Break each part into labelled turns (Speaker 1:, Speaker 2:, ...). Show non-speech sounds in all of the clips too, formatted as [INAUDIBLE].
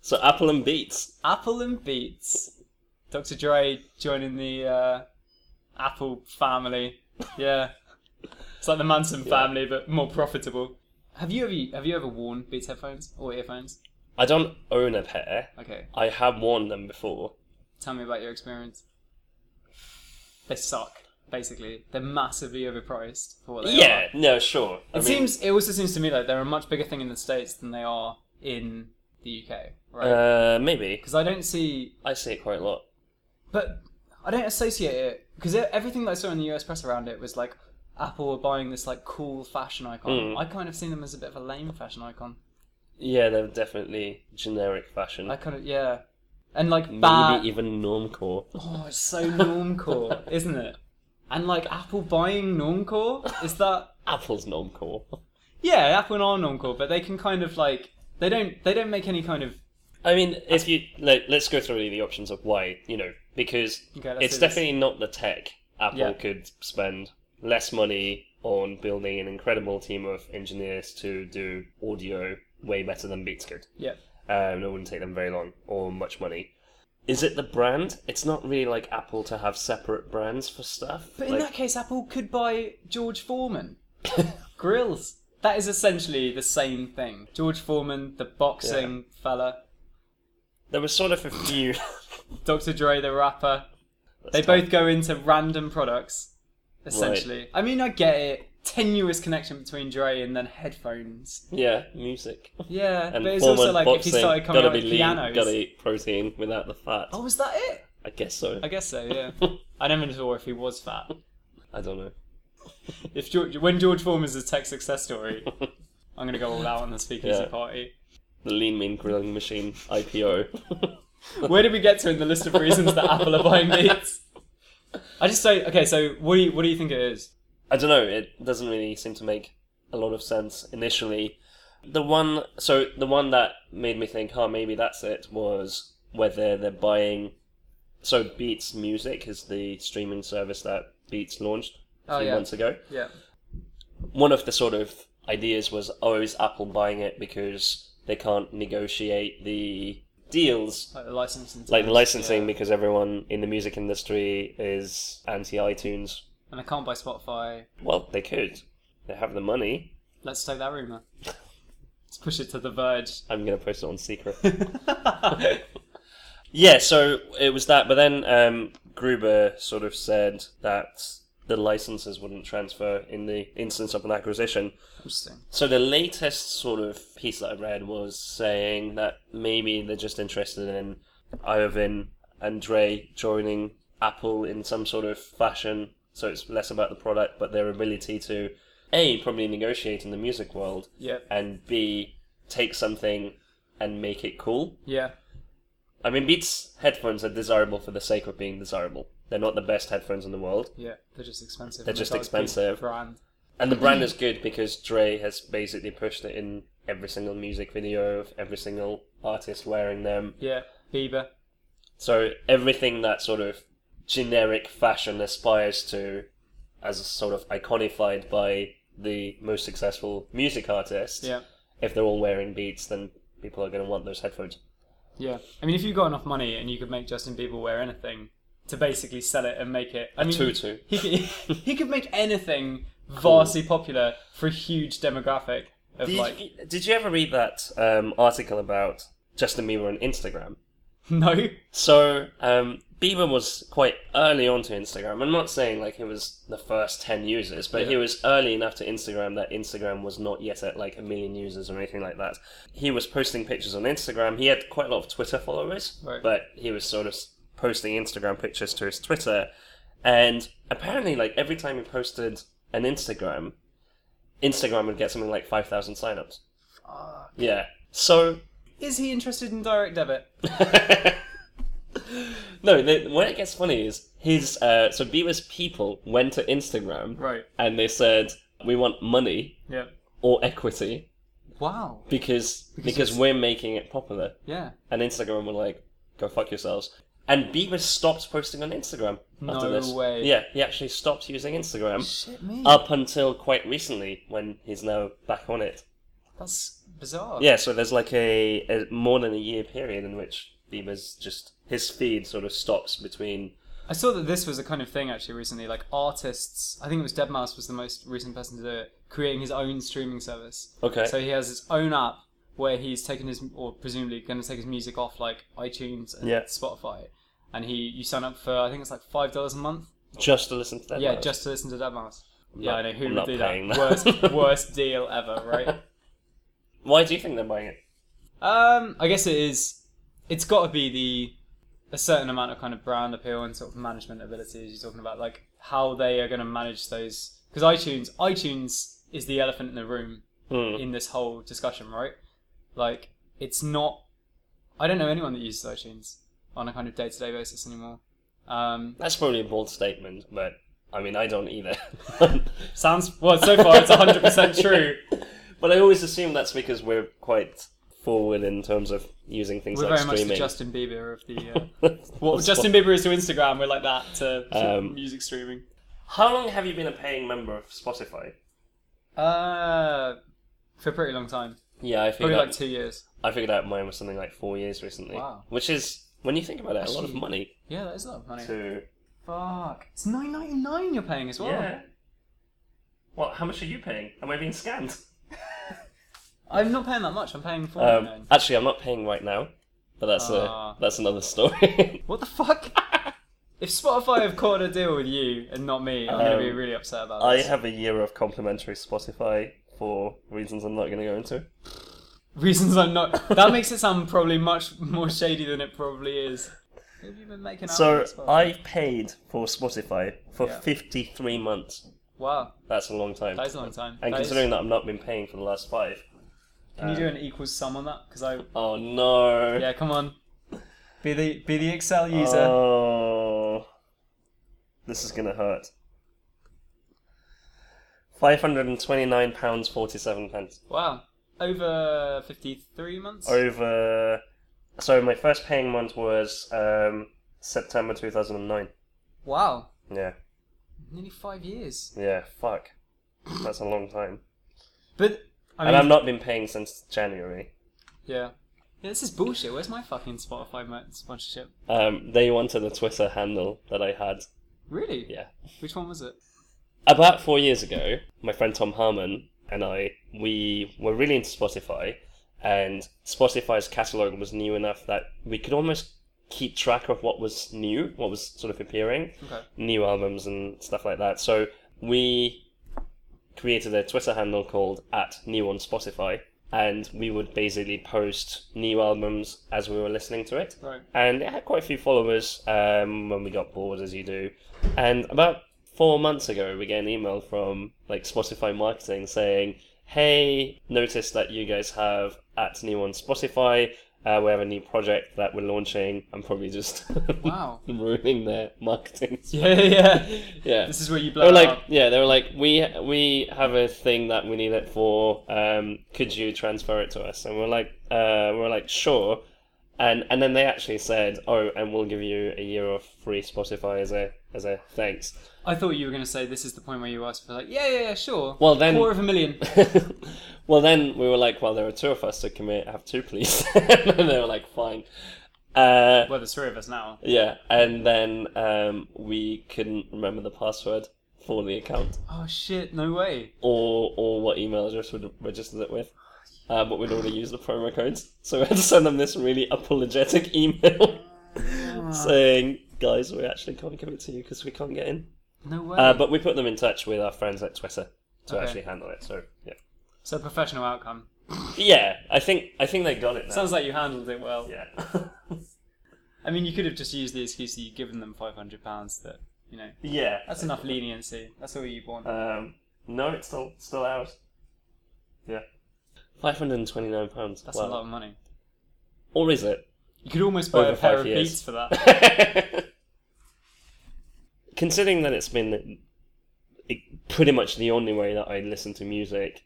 Speaker 1: So Apple and Beats.
Speaker 2: Apple and Beats. Dr. Dre joining the uh, Apple family. Yeah. It's like the Manson family, but more profitable. Have you ever have you ever worn Beats headphones or earphones?
Speaker 1: I don't own a pair.
Speaker 2: Okay,
Speaker 1: I have worn them before.
Speaker 2: tell me about your experience. They suck. Basically, they're massively overpriced for what they are.
Speaker 1: Yeah, no, sure. I
Speaker 2: It seems. It also seems to me like they're a much bigger thing in the states than they are in the UK, right?
Speaker 1: Uh, maybe.
Speaker 2: Because I don't see,
Speaker 1: I see it quite a lot.
Speaker 2: but I don't associate it because everything that I saw in the US press around it was like Apple were buying this like cool fashion icon.
Speaker 1: Mm.
Speaker 2: I kind of seen them as a bit of a lame fashion icon.
Speaker 1: Yeah, they're definitely generic fashion.
Speaker 2: I kind of yeah, and like
Speaker 1: Maybe
Speaker 2: bad.
Speaker 1: even normcore. [LAUGHS]
Speaker 2: Oh, it's so normcore, isn't it? And like Apple buying normcore is that
Speaker 1: Apple's normcore.
Speaker 2: yeah, Apple are normcore, but they can kind of like they don't they don't make any kind of
Speaker 1: I mean, if you like, let's go through the options of why you know because
Speaker 2: Okay, let's
Speaker 1: it's
Speaker 2: do this.
Speaker 1: definitely not the tech. Apple
Speaker 2: Yeah.
Speaker 1: could spend less money on building an incredible team of engineers to do audio way better than Beats could.
Speaker 2: yeah.
Speaker 1: Um, it wouldn't take them very long or much money. Is it the brand? It's not really like Apple to have separate brands for stuff.
Speaker 2: But in
Speaker 1: Like,
Speaker 2: that case, Apple could buy George Foreman [LAUGHS] grills. That is essentially the same thing. George Foreman, the boxing fella,
Speaker 1: there was sort of a
Speaker 2: [LAUGHS]
Speaker 1: few. [LAUGHS]
Speaker 2: Dr. Dre, the rapper. They both go into random products, essentially. I mean, I get it. Tenuous connection between Dre and then headphones.
Speaker 1: yeah, music.
Speaker 2: Yeah,
Speaker 1: And
Speaker 2: but it's
Speaker 1: form
Speaker 2: also
Speaker 1: and
Speaker 2: like
Speaker 1: boxing,
Speaker 2: if you started coming
Speaker 1: gotta
Speaker 2: out
Speaker 1: be
Speaker 2: with
Speaker 1: lean,
Speaker 2: pianos.
Speaker 1: gotta eat protein without the fat.
Speaker 2: Oh, was that it?
Speaker 1: I guess so.
Speaker 2: I guess so.
Speaker 1: [LAUGHS]
Speaker 2: Yeah. I never saw if he was fat.
Speaker 1: I don't know. [LAUGHS]
Speaker 2: If George, when George Foreman's a tech success story, I'm gonna go all out on the speakeasy
Speaker 1: Yeah.
Speaker 2: party.
Speaker 1: The Lean Mean Grilling Machine [LAUGHS] IPO.
Speaker 2: Where did we get to in the list of reasons that Apple are buying Beats? I just say okay. So what do you what do you think it is?
Speaker 1: I don't know. It doesn't really seem to make a lot of sense initially. The one, so the one that made me think, "Oh, maybe that's it," was whether they're buying. So Beats Music is the streaming service that Beats launched a
Speaker 2: Oh,
Speaker 1: few
Speaker 2: yeah.
Speaker 1: months ago.
Speaker 2: Yeah.
Speaker 1: One of the sort of ideas was, "Oh, is Apple buying it because they can't negotiate the deals
Speaker 2: Like the licensing.
Speaker 1: like
Speaker 2: terms,
Speaker 1: licensing
Speaker 2: yeah.
Speaker 1: because everyone in the music industry is anti iTunes.
Speaker 2: And I can't buy Spotify.
Speaker 1: Well, they could. They have the money.
Speaker 2: Let's take that rumor. Let's push it to the verge.
Speaker 1: I'm gonna post it on secret. [LAUGHS] yeah, so it was that, but then um, Gruber sort of said that the licenses wouldn't transfer in the instance of an acquisition.
Speaker 2: Interesting.
Speaker 1: So the latest sort of piece that I read was saying that maybe they're just interested in Ivan and Dre joining Apple in some sort of fashion. So it's less about the product, but their ability to a probably negotiate in the music world,
Speaker 2: Yeah.
Speaker 1: and b take something and make it cool.
Speaker 2: Yeah.
Speaker 1: I mean, Beats headphones are desirable for the sake of being desirable. They're not the best headphones in the world,
Speaker 2: Yeah. They're just expensive.
Speaker 1: They're
Speaker 2: and
Speaker 1: just
Speaker 2: they've got a good
Speaker 1: expensive.
Speaker 2: Brand.
Speaker 1: And the brand is good because Dre has basically pushed it in every single music video of every single artist wearing them.
Speaker 2: Yeah. Bieber.
Speaker 1: So everything that sort of generic fashion aspires to, as sort of iconified by the most successful music artists,
Speaker 2: Yeah.
Speaker 1: if they're all wearing beats, then people are going to want those headphones.
Speaker 2: Yeah. I mean, if you got enough money and you could make Justin Bieber wear anything to basically sell it and make it, I mean,
Speaker 1: Tutu.
Speaker 2: he [LAUGHS] could, he could make anything vastly popular for a huge demographic of
Speaker 1: Did,
Speaker 2: like
Speaker 1: you, did you ever read that um, article about Justin Bieber and Instagram?
Speaker 2: [LAUGHS] no.
Speaker 1: So, um, Bieber was quite early on to Instagram. I'm not saying like he was the first 10 users, but he
Speaker 2: Yeah.
Speaker 1: was early enough to Instagram that Instagram was not yet at like a million users or anything like that. He was posting pictures on Instagram. He had quite a lot of Twitter followers,
Speaker 2: Right.
Speaker 1: but he was sort of s- posting Instagram pictures to his Twitter. And apparently, like every time he posted an Instagram, Instagram would get something like 5,000 signups. Yeah. So,
Speaker 2: Is he interested in direct debit?
Speaker 1: No, the, where it gets funny is his. Uh, so Bieber's people went to Instagram
Speaker 2: Right.
Speaker 1: and they said, "We want money
Speaker 2: Yeah.
Speaker 1: or equity
Speaker 2: Wow.
Speaker 1: because because,
Speaker 2: it's-
Speaker 1: we're making it popular."
Speaker 2: Yeah.
Speaker 1: And Instagram were like, "Go fuck yourselves." And Bieber stopped posting on Instagram after
Speaker 2: No
Speaker 1: this.
Speaker 2: way.
Speaker 1: Yeah, he actually stopped using Instagram
Speaker 2: Shit me.
Speaker 1: up until quite recently when he's now back on it.
Speaker 2: That's Bizarre.
Speaker 1: Yeah, so there's like a, a more than a year period in which Beamer's just his feed sort of stops between.
Speaker 2: I saw that this was a kind of thing actually recently. Like artists, I think it was Deadmau5 was the most recent person to do it, creating his own streaming service.
Speaker 1: Okay.
Speaker 2: So he has his own app where he's taken his, or presumably going to take his music off like iTunes and
Speaker 1: Yeah.
Speaker 2: Spotify, and he you sign up for I think it's like five dollars a month.
Speaker 1: just to listen to that.
Speaker 2: Yeah,
Speaker 1: now.
Speaker 2: just to listen to Deadmau5. Yeah,
Speaker 1: not-
Speaker 2: I know who
Speaker 1: I'm
Speaker 2: would
Speaker 1: not
Speaker 2: do
Speaker 1: paying
Speaker 2: that.
Speaker 1: that. [LAUGHS]
Speaker 2: Worst, worst deal ever, right?
Speaker 1: Why do you think they're buying it?
Speaker 2: Um, I guess it is. It's got to be the a certain amount of kind of brand appeal and sort of management ability as you're talking about, like how they are going to manage those. Because iTunes, iTunes is the elephant in the room
Speaker 1: Hmm.
Speaker 2: in this whole discussion, right? Like it's not. I don't know anyone that uses iTunes on a kind of day to day basis anymore. Um,
Speaker 1: That's probably a bold statement, but I mean, I don't either.
Speaker 2: sounds [LAUGHS] well. So far, it's
Speaker 1: [LAUGHS]
Speaker 2: 100 percent true.
Speaker 1: but I always assume that's because we're quite forward in terms of using things
Speaker 2: We're
Speaker 1: like
Speaker 2: very much the
Speaker 1: streaming.
Speaker 2: Justin Bieber of the. Uh, what Justin Bieber is to Instagram, we're like that to
Speaker 1: Um,
Speaker 2: music streaming.
Speaker 1: [LAUGHS] How long have you been a paying member of Spotify?
Speaker 2: Uh, for a pretty long time.
Speaker 1: Yeah, I
Speaker 2: Probably
Speaker 1: figured out,
Speaker 2: like two years.
Speaker 1: I figured out mine was something like four years recently.
Speaker 2: Wow.
Speaker 1: Which is, when you think about it, a lot of
Speaker 2: Actually-
Speaker 1: money
Speaker 2: Yeah, that is a lot of money.
Speaker 1: to.
Speaker 2: Fuck. It's nine ninety nine you're paying as well.
Speaker 1: Yeah. Well, how much are you paying? Am I being scammed?
Speaker 2: I'm not paying that much. I'm paying four ninety nine.
Speaker 1: Um, actually, I'm not paying right now, but that's
Speaker 2: Oh, Ah.
Speaker 1: a that's another story. [LAUGHS]
Speaker 2: what the fuck? [LAUGHS] if Spotify have caught a deal with you and not me, I'm gonna be
Speaker 1: Um,
Speaker 2: really upset about
Speaker 1: I
Speaker 2: this. [LAUGHS]
Speaker 1: have a year of complimentary Spotify for reasons I'm not going to go into.
Speaker 2: Reasons I'm not. That makes it sound probably much more shady than it probably is. Who have you been making out
Speaker 1: So
Speaker 2: with Spotify?
Speaker 1: I paid for Spotify for
Speaker 2: Oh, Yeah.
Speaker 1: 53 months.
Speaker 2: Wow,
Speaker 1: That's a long time.
Speaker 2: that is a long time.
Speaker 1: and
Speaker 2: That is-
Speaker 1: considering that I've not been paying for the last five.
Speaker 2: can you do an equals sum on that? Because I.
Speaker 1: Oh no.
Speaker 2: Yeah, come on. Be the be the Excel user.
Speaker 1: Uh, Oh. This is going to hurt. £529.47 pence
Speaker 2: Wow. Over 53
Speaker 1: Oh,
Speaker 2: months?
Speaker 1: over. So my first paying month was um, September 2009.
Speaker 2: Wow.
Speaker 1: Yeah,
Speaker 2: Nearly five years.
Speaker 1: yeah, fuck. That's a long time.
Speaker 2: But, I mean,
Speaker 1: and I've not been paying since January.
Speaker 2: yeah. Yeah, this is bullshit. Where's my fucking Spotify mo- sponsorship?
Speaker 1: Um, they wanted a Twitter handle that I had.
Speaker 2: Really?
Speaker 1: Yeah.
Speaker 2: Which one was it?
Speaker 1: About four years ago, my friend Tom Harmon and I, we were really into Spotify, and Spotify's catalogue was new enough that we could almost keep track of what was new, what was sort of appearing,
Speaker 2: Okay.
Speaker 1: new albums and stuff like that. So we created a Twitter handle called at new on Spotify, and we would basically post new albums as we were listening to it [LAUGHS]
Speaker 2: Right.
Speaker 1: and it had quite a few followers um, when we got bored, as you do. And about four months ago, we get an email from like Spotify marketing saying, "Hey, noticed that you guys have at new on Spotify. Uh, we have a new project that we're launching. I'm probably just [LAUGHS]
Speaker 2: Wow.
Speaker 1: ruining their marketing.
Speaker 2: [LAUGHS] Yeah, yeah.
Speaker 1: yeah,
Speaker 2: This is where you
Speaker 1: they
Speaker 2: blow
Speaker 1: were
Speaker 2: it
Speaker 1: Oh, like,
Speaker 2: up.
Speaker 1: yeah, they were like, we we have a thing that we need it for. Um, could you transfer it to us? And we're like, uh, we're like, sure. And and then they actually said, oh, and we'll give you a year of free Spotify as a as a thanks.
Speaker 2: I thought you were going to say this is the point where you ask for, like, yeah, yeah, yeah, sure.
Speaker 1: Well, then-
Speaker 2: Quarter of a million.
Speaker 1: [LAUGHS] well, then we were like, well, there are two of us, so can we have two, please? [LAUGHS] and they were like, fine. Uh,
Speaker 2: well, there's three of us now.
Speaker 1: yeah, and then um, we couldn't remember the password for the account.
Speaker 2: Oh, shit, no way.
Speaker 1: or or what email address we'd registered it with. Uh, but we'd already used the promo codes, so we had to send them this really apologetic [LAUGHS] email
Speaker 2: Ah.
Speaker 1: saying, "Guys, we actually can't give it to you because we can't get in."
Speaker 2: No way.
Speaker 1: Uh, but we put them in touch with our friends at Twitter to
Speaker 2: Okay.
Speaker 1: actually handle it. So yeah,
Speaker 2: so, professional outcome.
Speaker 1: yeah, I think I think they got it now.
Speaker 2: Sounds like you handled it well.
Speaker 1: yeah, [LAUGHS]
Speaker 2: I mean, you could have just used the excuse that you'd given them £500 that, you know,
Speaker 1: yeah.
Speaker 2: That's enough leniency. That's all you want.
Speaker 1: Um, no, it's still still ours. Yeah, five hundred and twenty nine pounds.
Speaker 2: That's a lot
Speaker 1: Wow.
Speaker 2: of money.
Speaker 1: Or is it?
Speaker 2: You could almost buy
Speaker 1: Over
Speaker 2: a pair
Speaker 1: five
Speaker 2: of
Speaker 1: years.
Speaker 2: Beats for that.
Speaker 1: [LAUGHS] Considering that it's been it- pretty much the only way that I listen to music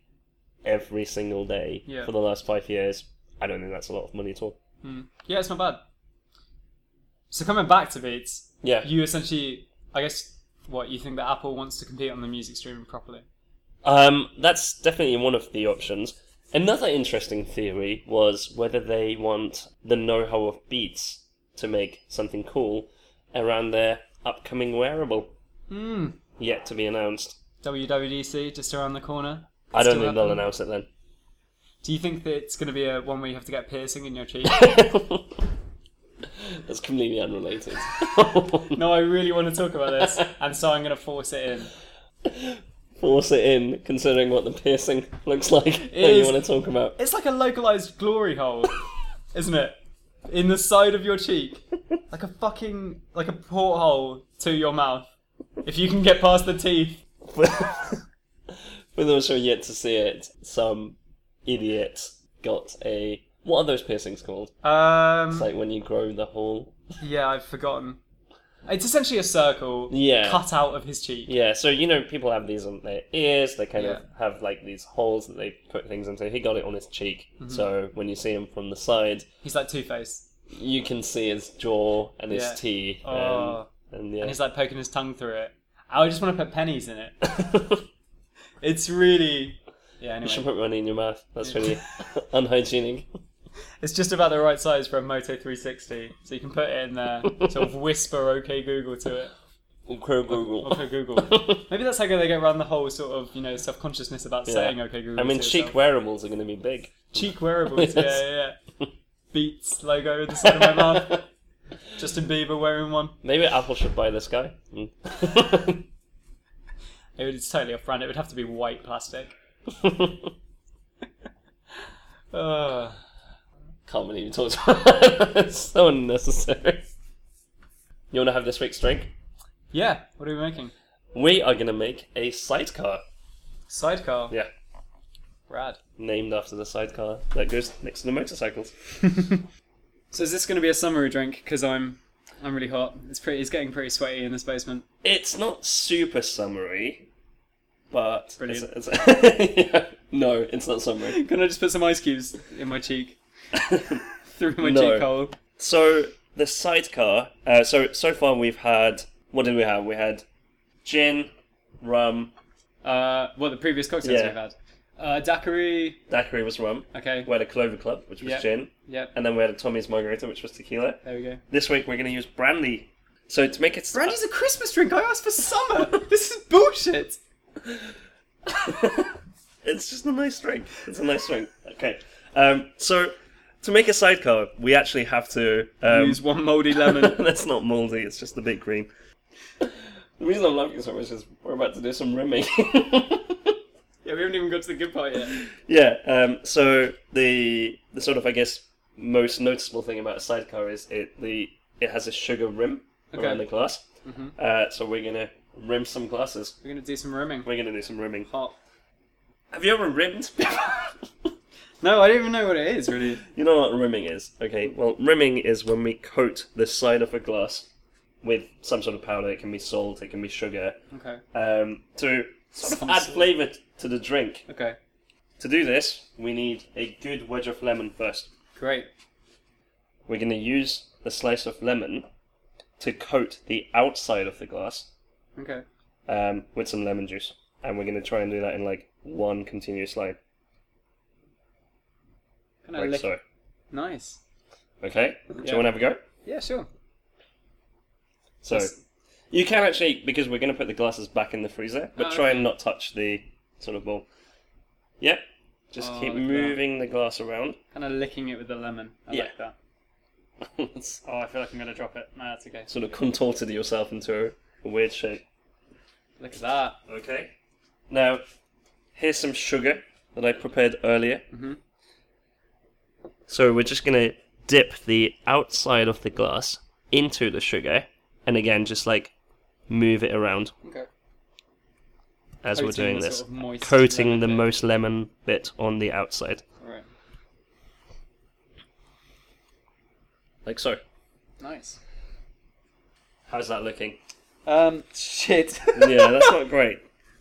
Speaker 1: every single day
Speaker 2: Yeah.
Speaker 1: for the last five years, I don't think that's a lot of money at all.
Speaker 2: Hmm. Yeah, it's not bad. So coming back to Beats,
Speaker 1: Yeah.
Speaker 2: you essentially, I guess, what you think that Apple wants to compete on the music streaming properly?
Speaker 1: Um, that's definitely one of the options. Another interesting theory was whether they want the know-how of Beats to make something cool around their upcoming wearable,
Speaker 2: Hmm.
Speaker 1: yet to be announced.
Speaker 2: WWDC just around the corner.
Speaker 1: I don't
Speaker 2: Still
Speaker 1: think they'll
Speaker 2: happening.
Speaker 1: announce it then.
Speaker 2: Do you think that it's going to be a one where you have to get piercing in your cheek?
Speaker 1: That's completely unrelated.
Speaker 2: [LAUGHS]
Speaker 1: [LAUGHS]
Speaker 2: no, I really want to talk about this, and so I'm going to force it in.
Speaker 1: Force it in, considering what the piercing looks like that
Speaker 2: is-
Speaker 1: you want to talk about.
Speaker 2: It's like a localized
Speaker 1: [LAUGHS]
Speaker 2: glory hole, isn't it? In the side of your cheek, like a fucking like a porthole to your mouth. If you can get past the teeth,
Speaker 1: [LAUGHS] With those who are yet to see it, some idiot got a. What are those piercings called?
Speaker 2: um,
Speaker 1: It's like when you grow the hole.
Speaker 2: yeah, I've forgotten. It's essentially a circle
Speaker 1: Yeah.
Speaker 2: cut out of his cheek.
Speaker 1: Yeah, so you know, people have these on their ears. They kind of
Speaker 2: Yeah.
Speaker 1: have like these holes that they put things into. He got it on his cheek,
Speaker 2: Mm-hmm.
Speaker 1: so when you see him from the side,
Speaker 2: He's like Two Face,
Speaker 1: you can see his jaw and his
Speaker 2: Yeah.
Speaker 1: teeth. And,
Speaker 2: Oh.
Speaker 1: and yeah,
Speaker 2: and he's like poking his tongue through it. I just want to put pennies
Speaker 1: [LAUGHS]
Speaker 2: in it. It's really yeah.
Speaker 1: you should
Speaker 2: Anyway,
Speaker 1: put money in your mouth. That's really [LAUGHS] unhygienic.
Speaker 2: it's just about the right size for a Moto 360, so you can put it in there. sort of whisper "Okay Google" to it.
Speaker 1: Crow Google.
Speaker 2: [LAUGHS] Okay Google. Maybe that's how they get around the whole sort of you know self consciousness about saying okay Google.
Speaker 1: I mean,
Speaker 2: to
Speaker 1: cheek
Speaker 2: yourself.
Speaker 1: wearables are going to be big. [LAUGHS]
Speaker 2: cheek wearables. Yeah,
Speaker 1: Yes.
Speaker 2: yeah, yeah. Beats logo at the side of my mouth. Justin Bieber wearing one.
Speaker 1: [LAUGHS] Maybe Apple should buy this guy. Mm. [LAUGHS]
Speaker 2: It would- It's totally off brand. It would have to be white plastic. Ugh.
Speaker 1: Can't believe you talked about [LAUGHS] It's so unnecessary. You want to have this week's drink?
Speaker 2: yeah. What are we making?
Speaker 1: We are going to make a sidecar.
Speaker 2: Sidecar.
Speaker 1: Yeah. [LAUGHS]
Speaker 2: Rad.
Speaker 1: Named after the sidecar that goes next to the motorcycles.
Speaker 2: So is this going to be a summery drink? Because I'm, I'm really hot. It's pretty. It's getting pretty sweaty in this basement.
Speaker 1: It's not super summary, but.
Speaker 2: Brilliant.
Speaker 1: It's, it's- [LAUGHS] yeah. No, it's not summary.
Speaker 2: Can I just put some ice cubes in my cheek? [LAUGHS] Through my
Speaker 1: No.
Speaker 2: cheek hole.
Speaker 1: [LAUGHS] So the sidecar. Uh, so so far we've had. What did we have? We had gin, rum.
Speaker 2: Uh, what the previous cocktails
Speaker 1: Yeah.
Speaker 2: we've had. Uh, daiquiri.
Speaker 1: Daiquiri was rum.
Speaker 2: Okay.
Speaker 1: We had a Clover Club, which was
Speaker 2: Yeah.
Speaker 1: gin,
Speaker 2: Yep.
Speaker 1: and then we had a Tommy's Margarita, which was tequila.
Speaker 2: There we go.
Speaker 1: This week we're going to use brandy. So to make it uh,
Speaker 2: Brandy's a Christmas drink. I asked for summer. this is bullshit.
Speaker 1: it's just a nice drink. It's a nice drink. Okay. Um, so to make a sidecar, we actually have to um,
Speaker 2: Use one moldy lemon.
Speaker 1: [LAUGHS] That's not moldy, it's just a bit green. The reason I'm laughing so much is we're about to do some rimming.
Speaker 2: [LAUGHS]
Speaker 1: [LAUGHS]
Speaker 2: yeah, we haven't even got to the good part yet.
Speaker 1: yeah, um, so the the sort of I guess most noticeable thing about a sidecar is it the it has a sugar rim
Speaker 2: Okay.
Speaker 1: around the glass. Uh, so we're gonna rim some glasses.
Speaker 2: We're gonna do some rimming.
Speaker 1: We're gonna do some rimming.
Speaker 2: Hot.
Speaker 1: Have you ever rimmed?
Speaker 2: No, I don't even know what it is really.
Speaker 1: [LAUGHS] you know what rimming is, okay? Well, rimming is when we coat the side of a glass with some sort of powder. It can be salt, it can be sugar,
Speaker 2: Okay.
Speaker 1: um, to sort of
Speaker 2: Some
Speaker 1: add
Speaker 2: sort.
Speaker 1: flavour t- to the drink.
Speaker 2: Okay.
Speaker 1: To do this, we need a good wedge of lemon first.
Speaker 2: Great.
Speaker 1: We're going to use the slice of lemon to coat the outside of the glass
Speaker 2: Okay.
Speaker 1: um, with some lemon juice. And we're going to try and do that in like one continuous line.
Speaker 2: Can I
Speaker 1: Like
Speaker 2: Oh, lick-
Speaker 1: so.
Speaker 2: Nice.
Speaker 1: Okay? Do
Speaker 2: Yeah.
Speaker 1: you want to have a go?
Speaker 2: Yeah, sure.
Speaker 1: So.
Speaker 2: Yes.
Speaker 1: You can actually, because we're going to put the glasses back in the freezer, but
Speaker 2: Oh,
Speaker 1: try and not touch the sort of ball. Yep. Just
Speaker 2: Oh,
Speaker 1: keep
Speaker 2: look at that.
Speaker 1: moving the glass around. [LAUGHS]
Speaker 2: Kind of licking it with the lemon. I
Speaker 1: Yeah.
Speaker 2: like that.
Speaker 1: It's
Speaker 2: Oh, I feel like I'm gonna drop it. No, that's okay.
Speaker 1: sort of contorted yourself into a weird shape.
Speaker 2: Look at that.
Speaker 1: Okay. Now, here's some sugar that I prepared earlier.
Speaker 2: Mhm.
Speaker 1: So we're just gonna dip the outside of the glass into the sugar, and again, just like move it around
Speaker 2: Okay.
Speaker 1: as we're doing this,
Speaker 2: Sort of moist
Speaker 1: coating the
Speaker 2: lemon bit.
Speaker 1: most lemon bit on the outside,
Speaker 2: Alright.
Speaker 1: like so.
Speaker 2: Nice.
Speaker 1: How's that looking?
Speaker 2: Um. Shit.
Speaker 1: yeah, that's
Speaker 2: [LAUGHS]
Speaker 1: not great.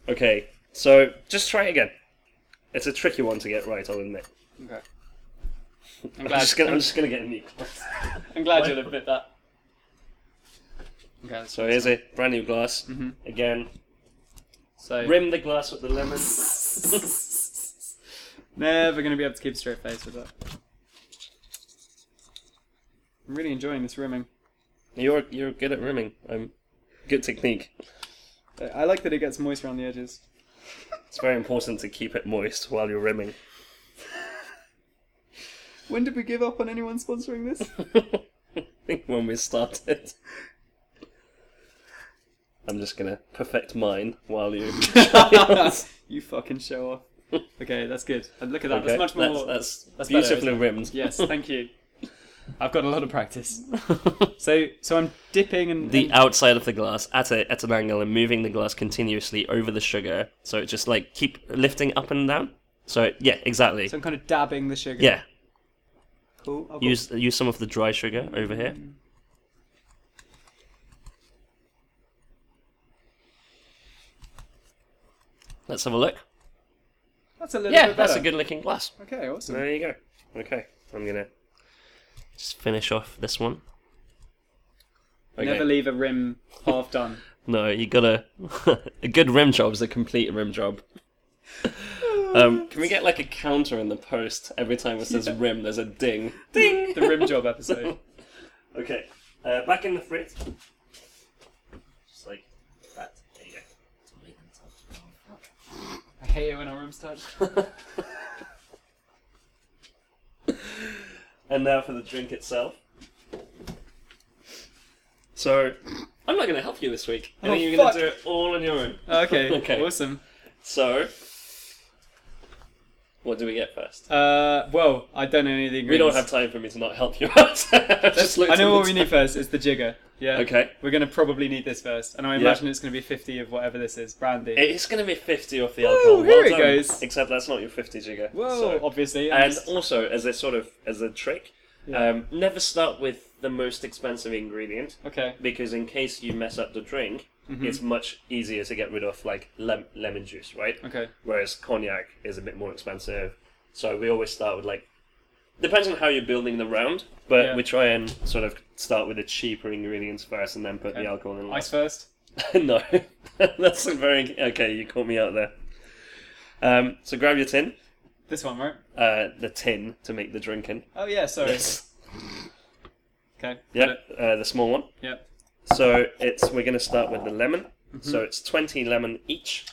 Speaker 1: Okay, so just try it again. It's a tricky one to get right, I'll admit.
Speaker 2: Okay. I'm
Speaker 1: I'm
Speaker 2: glad.
Speaker 1: just gonna, I'm just gonna get a new glass.
Speaker 2: I'm glad you'll admit that. Okay.
Speaker 1: So here's a brand new glass.
Speaker 2: Mm-hmm.
Speaker 1: Again,
Speaker 2: So.
Speaker 1: rim the glass with the lemon.
Speaker 2: [LAUGHS] Never going to be able to keep a straight face with that. I'm really enjoying this rimming.
Speaker 1: You're you're good at rimming. Um, good technique.
Speaker 2: I- I like that it gets moist around the edges.
Speaker 1: It's very important to keep it moist while you're rimming. [LAUGHS]
Speaker 2: When did we give up on anyone sponsoring [LAUGHS] this?
Speaker 1: I think when we started. I'm just gonna perfect mine while
Speaker 2: [LAUGHS]
Speaker 1: you.
Speaker 2: you fucking show off. Okay, that's good. And look at that.
Speaker 1: Okay,
Speaker 2: that's much more.
Speaker 1: That's, that's
Speaker 2: that's better,
Speaker 1: beautifully rimmed. [LAUGHS]
Speaker 2: [LAUGHS] Yes, thank you. I've got a lot of practice. So, so I'm dipping and
Speaker 1: the
Speaker 2: and-
Speaker 1: outside of the glass at a, at an angle and moving the glass continuously over the sugar, so it just like keep lifting up and down. So it, yeah, exactly.
Speaker 2: so I'm kind of dabbing the sugar.
Speaker 1: yeah,
Speaker 2: Cool. I've got-
Speaker 1: use use some of the dry sugar over here. Let's have a look.
Speaker 2: That's a little
Speaker 1: Yeah,
Speaker 2: bit
Speaker 1: that's a
Speaker 2: better.
Speaker 1: good looking glass.
Speaker 2: Okay, awesome.
Speaker 1: There you go. Okay, I'm gonna just finish off this one. Okay.
Speaker 2: Never leave a rim half done.
Speaker 1: No, you gotta. [LAUGHS] a good rim job is a complete rim job. Um, can we get like a counter in the post every time it says rim? There's a ding.
Speaker 2: Ding! the rim
Speaker 1: [LAUGHS]
Speaker 2: job episode.
Speaker 1: Okay, uh, back in the frit. Just like that. There you
Speaker 2: I hate it when our rims touch.
Speaker 1: go. [LAUGHS] And now for the drink itself. So, I'm not gonna help you this week. I
Speaker 2: Oh,
Speaker 1: think you're gonna
Speaker 2: fuck. Uh.
Speaker 1: do it all on your own.
Speaker 2: Okay,
Speaker 1: [LAUGHS] Okay.
Speaker 2: awesome.
Speaker 1: So, what do we get first?
Speaker 2: Uh, well, I don't know any of the
Speaker 1: We don't
Speaker 2: ingredients.
Speaker 1: have time for me to not help you out. [LAUGHS] Just looked
Speaker 2: I know
Speaker 1: at
Speaker 2: what
Speaker 1: the
Speaker 2: we need first. It's the jigger. Yeah.
Speaker 1: Okay.
Speaker 2: We're gonna probably need this first, and I imagine it's gonna be fifty of whatever this is, brandy.
Speaker 1: It's going to be 50 off the alcohol.
Speaker 2: here
Speaker 1: well
Speaker 2: it
Speaker 1: done.
Speaker 2: goes.
Speaker 1: Except that's not your 50 jigger.
Speaker 2: Whoa! Oh,
Speaker 1: So-
Speaker 2: obviously. I'm
Speaker 1: And
Speaker 2: just-
Speaker 1: also, as a sort of as a trick,
Speaker 2: Yeah.
Speaker 1: um, never start with the most expensive ingredient
Speaker 2: okay.
Speaker 1: because in case you mess up the drink,
Speaker 2: Mm-hmm.
Speaker 1: it's much easier to get rid of like lem- lemon juice, right?
Speaker 2: Okay.
Speaker 1: Whereas cognac is a bit more expensive. So we always start with like depends on how you're building the round, but
Speaker 2: Yeah.
Speaker 1: we try and sort of start with the cheaper ingredients first and then put
Speaker 2: Okay.
Speaker 1: the alcohol in last.
Speaker 2: Ice first.
Speaker 1: [LAUGHS] no, that's a very okay. You caught me out there. Um, so grab your tin,
Speaker 2: This one, right?
Speaker 1: uh, the tin to make the drink in.
Speaker 2: Oh yeah. Sorry. Okay.
Speaker 1: Yep, uh, the small one.
Speaker 2: Yep.
Speaker 1: So it's we're going to start with the lemon. So it's twenty lemon each.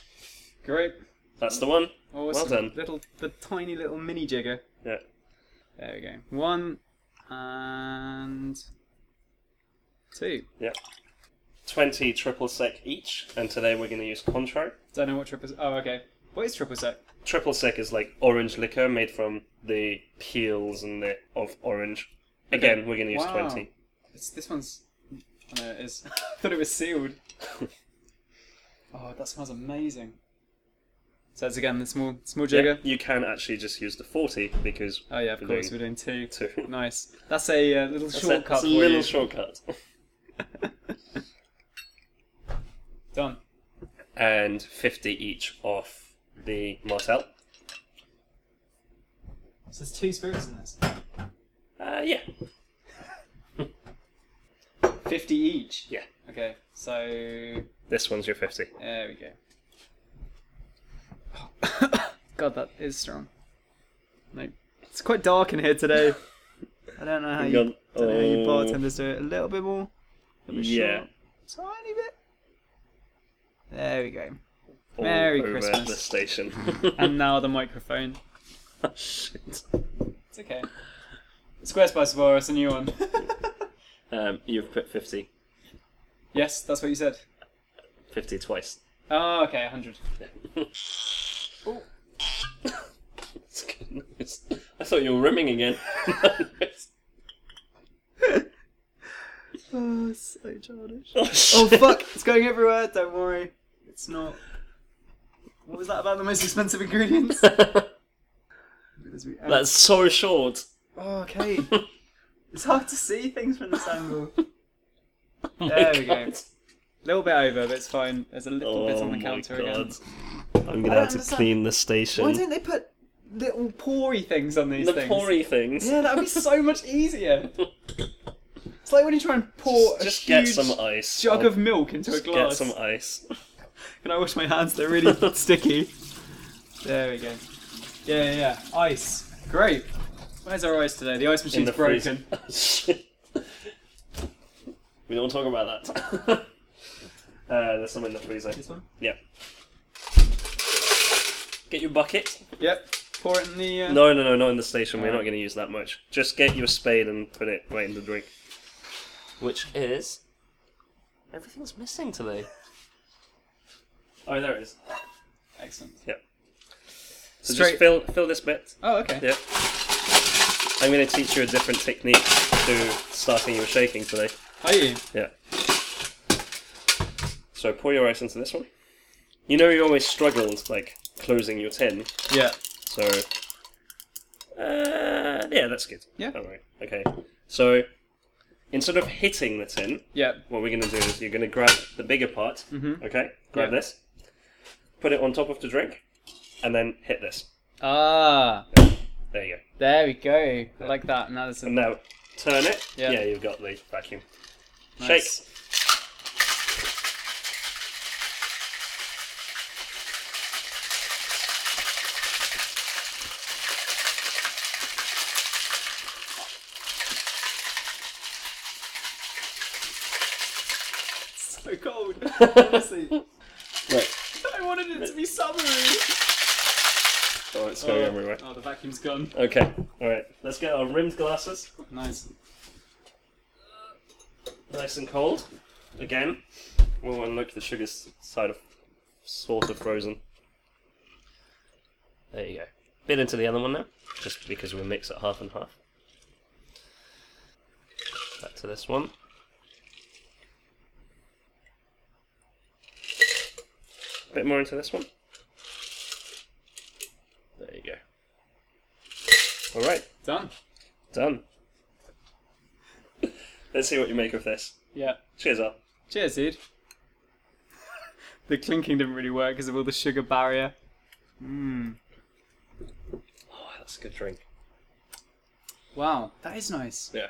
Speaker 2: Great.
Speaker 1: That's the one.
Speaker 2: Awesome.
Speaker 1: done.
Speaker 2: Little, the tiny little mini jigger.
Speaker 1: Yeah.
Speaker 2: There we go. One and two.
Speaker 1: Twenty triple sec each, and today we're going to use Cointreau.
Speaker 2: Don't know what triple. Oh, okay. What is triple sec?
Speaker 1: Triple sec is like orange liquor made from the peels and the of orange. Again, we're going to use
Speaker 2: Wow.
Speaker 1: twenty. [LAUGHS]
Speaker 2: It's, this one's. I know it is. [LAUGHS] I thought it was sealed. oh, that smells amazing. So that's again the small small
Speaker 1: Yeah,
Speaker 2: jigger.
Speaker 1: you can actually just use the forty because
Speaker 2: Oh yeah, of
Speaker 1: we're
Speaker 2: course
Speaker 1: doing
Speaker 2: we're doing two.
Speaker 1: two.
Speaker 2: Nice. That's a uh, little
Speaker 1: That's a-
Speaker 2: shortcut
Speaker 1: that's a
Speaker 2: for
Speaker 1: little
Speaker 2: you.
Speaker 1: shortcut.
Speaker 2: [LAUGHS]
Speaker 1: [LAUGHS]
Speaker 2: Done.
Speaker 1: and 50 each off the Martel.
Speaker 2: So there's two spirits in this.
Speaker 1: Uh, yeah.
Speaker 2: Fifty each.
Speaker 1: Yeah.
Speaker 2: Okay. So
Speaker 1: This one's your 50.
Speaker 2: there we go. [COUGHS] God, that is strong. No, it's quite dark in here today. I don't know how you,
Speaker 1: Gone.
Speaker 2: don't know how you
Speaker 1: Oh.
Speaker 2: bartenders do it. A little bit more. A bit
Speaker 1: Yeah.
Speaker 2: short, Tiny bit. There we go.
Speaker 1: All
Speaker 2: Merry
Speaker 1: over
Speaker 2: Christmas.
Speaker 1: the station.
Speaker 2: [LAUGHS]
Speaker 1: [LAUGHS]
Speaker 2: And now the microphone.
Speaker 1: Shit.
Speaker 2: It's okay. Squarespace by Saboris, a
Speaker 1: [LAUGHS]
Speaker 2: new one.
Speaker 1: Um, you've put 50.
Speaker 2: yes, that's what you said.
Speaker 1: 50 twice.
Speaker 2: Oh, okay,
Speaker 1: [LAUGHS]
Speaker 2: 100. Ooh.
Speaker 1: That's good news. I thought you were rimming again.
Speaker 2: [LAUGHS]
Speaker 1: [LAUGHS]
Speaker 2: Oh, so childish.
Speaker 1: oh, [LAUGHS]
Speaker 2: Oh,
Speaker 1: shit.
Speaker 2: fuck! It's going everywhere, don't worry. It's not. What was that about the most expensive
Speaker 1: [LAUGHS]
Speaker 2: ingredients?
Speaker 1: That's so short.
Speaker 2: Oh, okay. it's hard to see things from this angle.
Speaker 1: [LAUGHS] Oh my
Speaker 2: There we
Speaker 1: God.
Speaker 2: go. little bit over, but it's fine. There's a little
Speaker 1: Oh
Speaker 2: bit on the
Speaker 1: my
Speaker 2: counter
Speaker 1: God.
Speaker 2: again.
Speaker 1: I'm gonna
Speaker 2: I
Speaker 1: have to
Speaker 2: understand.
Speaker 1: clean the station.
Speaker 2: Why don't they put little poury things on these
Speaker 1: the
Speaker 2: things?
Speaker 1: porry things.
Speaker 2: Yeah, that would
Speaker 1: [LAUGHS]
Speaker 2: be so much easier. It's like when you try and pour a
Speaker 1: just
Speaker 2: huge
Speaker 1: get some ice.
Speaker 2: jug
Speaker 1: I'll
Speaker 2: of milk into a
Speaker 1: just
Speaker 2: glass.
Speaker 1: Get some ice.
Speaker 2: [LAUGHS] Can I wash my hands? They're really sticky. There we go. Yeah, yeah, yeah. Ice. Great. Where's our ice today? The ice
Speaker 1: in
Speaker 2: machine's
Speaker 1: the [LAUGHS]
Speaker 2: broken.
Speaker 1: freezer. Oh, we don't talk about that. [LAUGHS] uh, there's some in the freezer.
Speaker 2: This one?
Speaker 1: Yeah. Get your bucket.
Speaker 2: Yep. Pour it in the. Uh...
Speaker 1: No, no, no, not in the station. We're not going to use that much. Just get your spade and put it right in the drink. Which is. Everything's missing today. Oh, there it is.
Speaker 2: Excellent.
Speaker 1: So just
Speaker 2: Straight-
Speaker 1: fill fill this bit.
Speaker 2: Oh, okay.
Speaker 1: Yeah. I'm going to teach you a different technique to starting your shaking today.
Speaker 2: Are you?
Speaker 1: Yeah. So pour your ice into this one. You know you always struggled like closing your tin,
Speaker 2: Yeah.
Speaker 1: so uh, yeah, that's good.
Speaker 2: Yeah.
Speaker 1: Don't worry. Okay. So instead of hitting the tin,
Speaker 2: Yeah.
Speaker 1: what we're gonna do is you're gonna grab the bigger part.
Speaker 2: Mhm.
Speaker 1: Okay. Grab
Speaker 2: Yeah.
Speaker 1: this. Put it on top of the drink, and then hit this.
Speaker 2: Ah,
Speaker 1: There you go.
Speaker 2: there we go. I like that. Now there's a
Speaker 1: And now turn it.
Speaker 2: Yeah.
Speaker 1: Yeah, you've got the vacuum.
Speaker 2: nice. [LAUGHS] So
Speaker 1: [LAUGHS]
Speaker 2: cold. Honestly,
Speaker 1: Right.
Speaker 2: [LAUGHS] I wanted it to be summery.
Speaker 1: Oh, it's going everywhere.
Speaker 2: Oh, the vacuum's gone.
Speaker 1: Okay. All right. Let's get our rimmed glasses.
Speaker 2: Nice.
Speaker 1: nice and cold. Again, we'll unlock the sugar s- side of sort of frozen. There you go. Bit into the other one now, just because we mix it half and half. Back to this one. Bit more into this one. There you go. All right,
Speaker 2: Done.
Speaker 1: done. [LAUGHS] Let's see what you make of this.
Speaker 2: Yeah.
Speaker 1: Cheers up.
Speaker 2: Cheers, dude. the clinking didn't really work because of all the sugar barrier. Mmm.
Speaker 1: Oh, that's a good drink.
Speaker 2: Wow, that is nice.
Speaker 1: Yeah.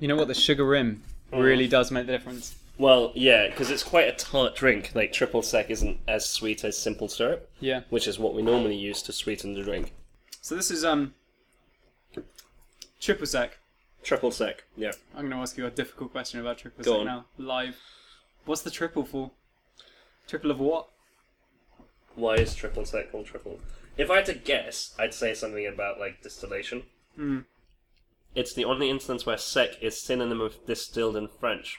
Speaker 2: You know what? The sugar rim
Speaker 1: Oh,
Speaker 2: really does make the difference.
Speaker 1: Well, yeah, because it's quite a tart drink. Like triple sec isn't as sweet as simple syrup,
Speaker 2: Yeah.
Speaker 1: which is what we normally use to sweeten the drink.
Speaker 2: So this is um triple sec.
Speaker 1: Triple sec. Yeah.
Speaker 2: I'm going to ask you a difficult question about triple
Speaker 1: Go
Speaker 2: sec
Speaker 1: on.
Speaker 2: now live. What's the triple for? Triple of what?
Speaker 1: Why is triple sec called triple? If I had to guess, I'd say something about like distillation.
Speaker 2: Hmm.
Speaker 1: It's the only instance where sec is synonym of distilled in French.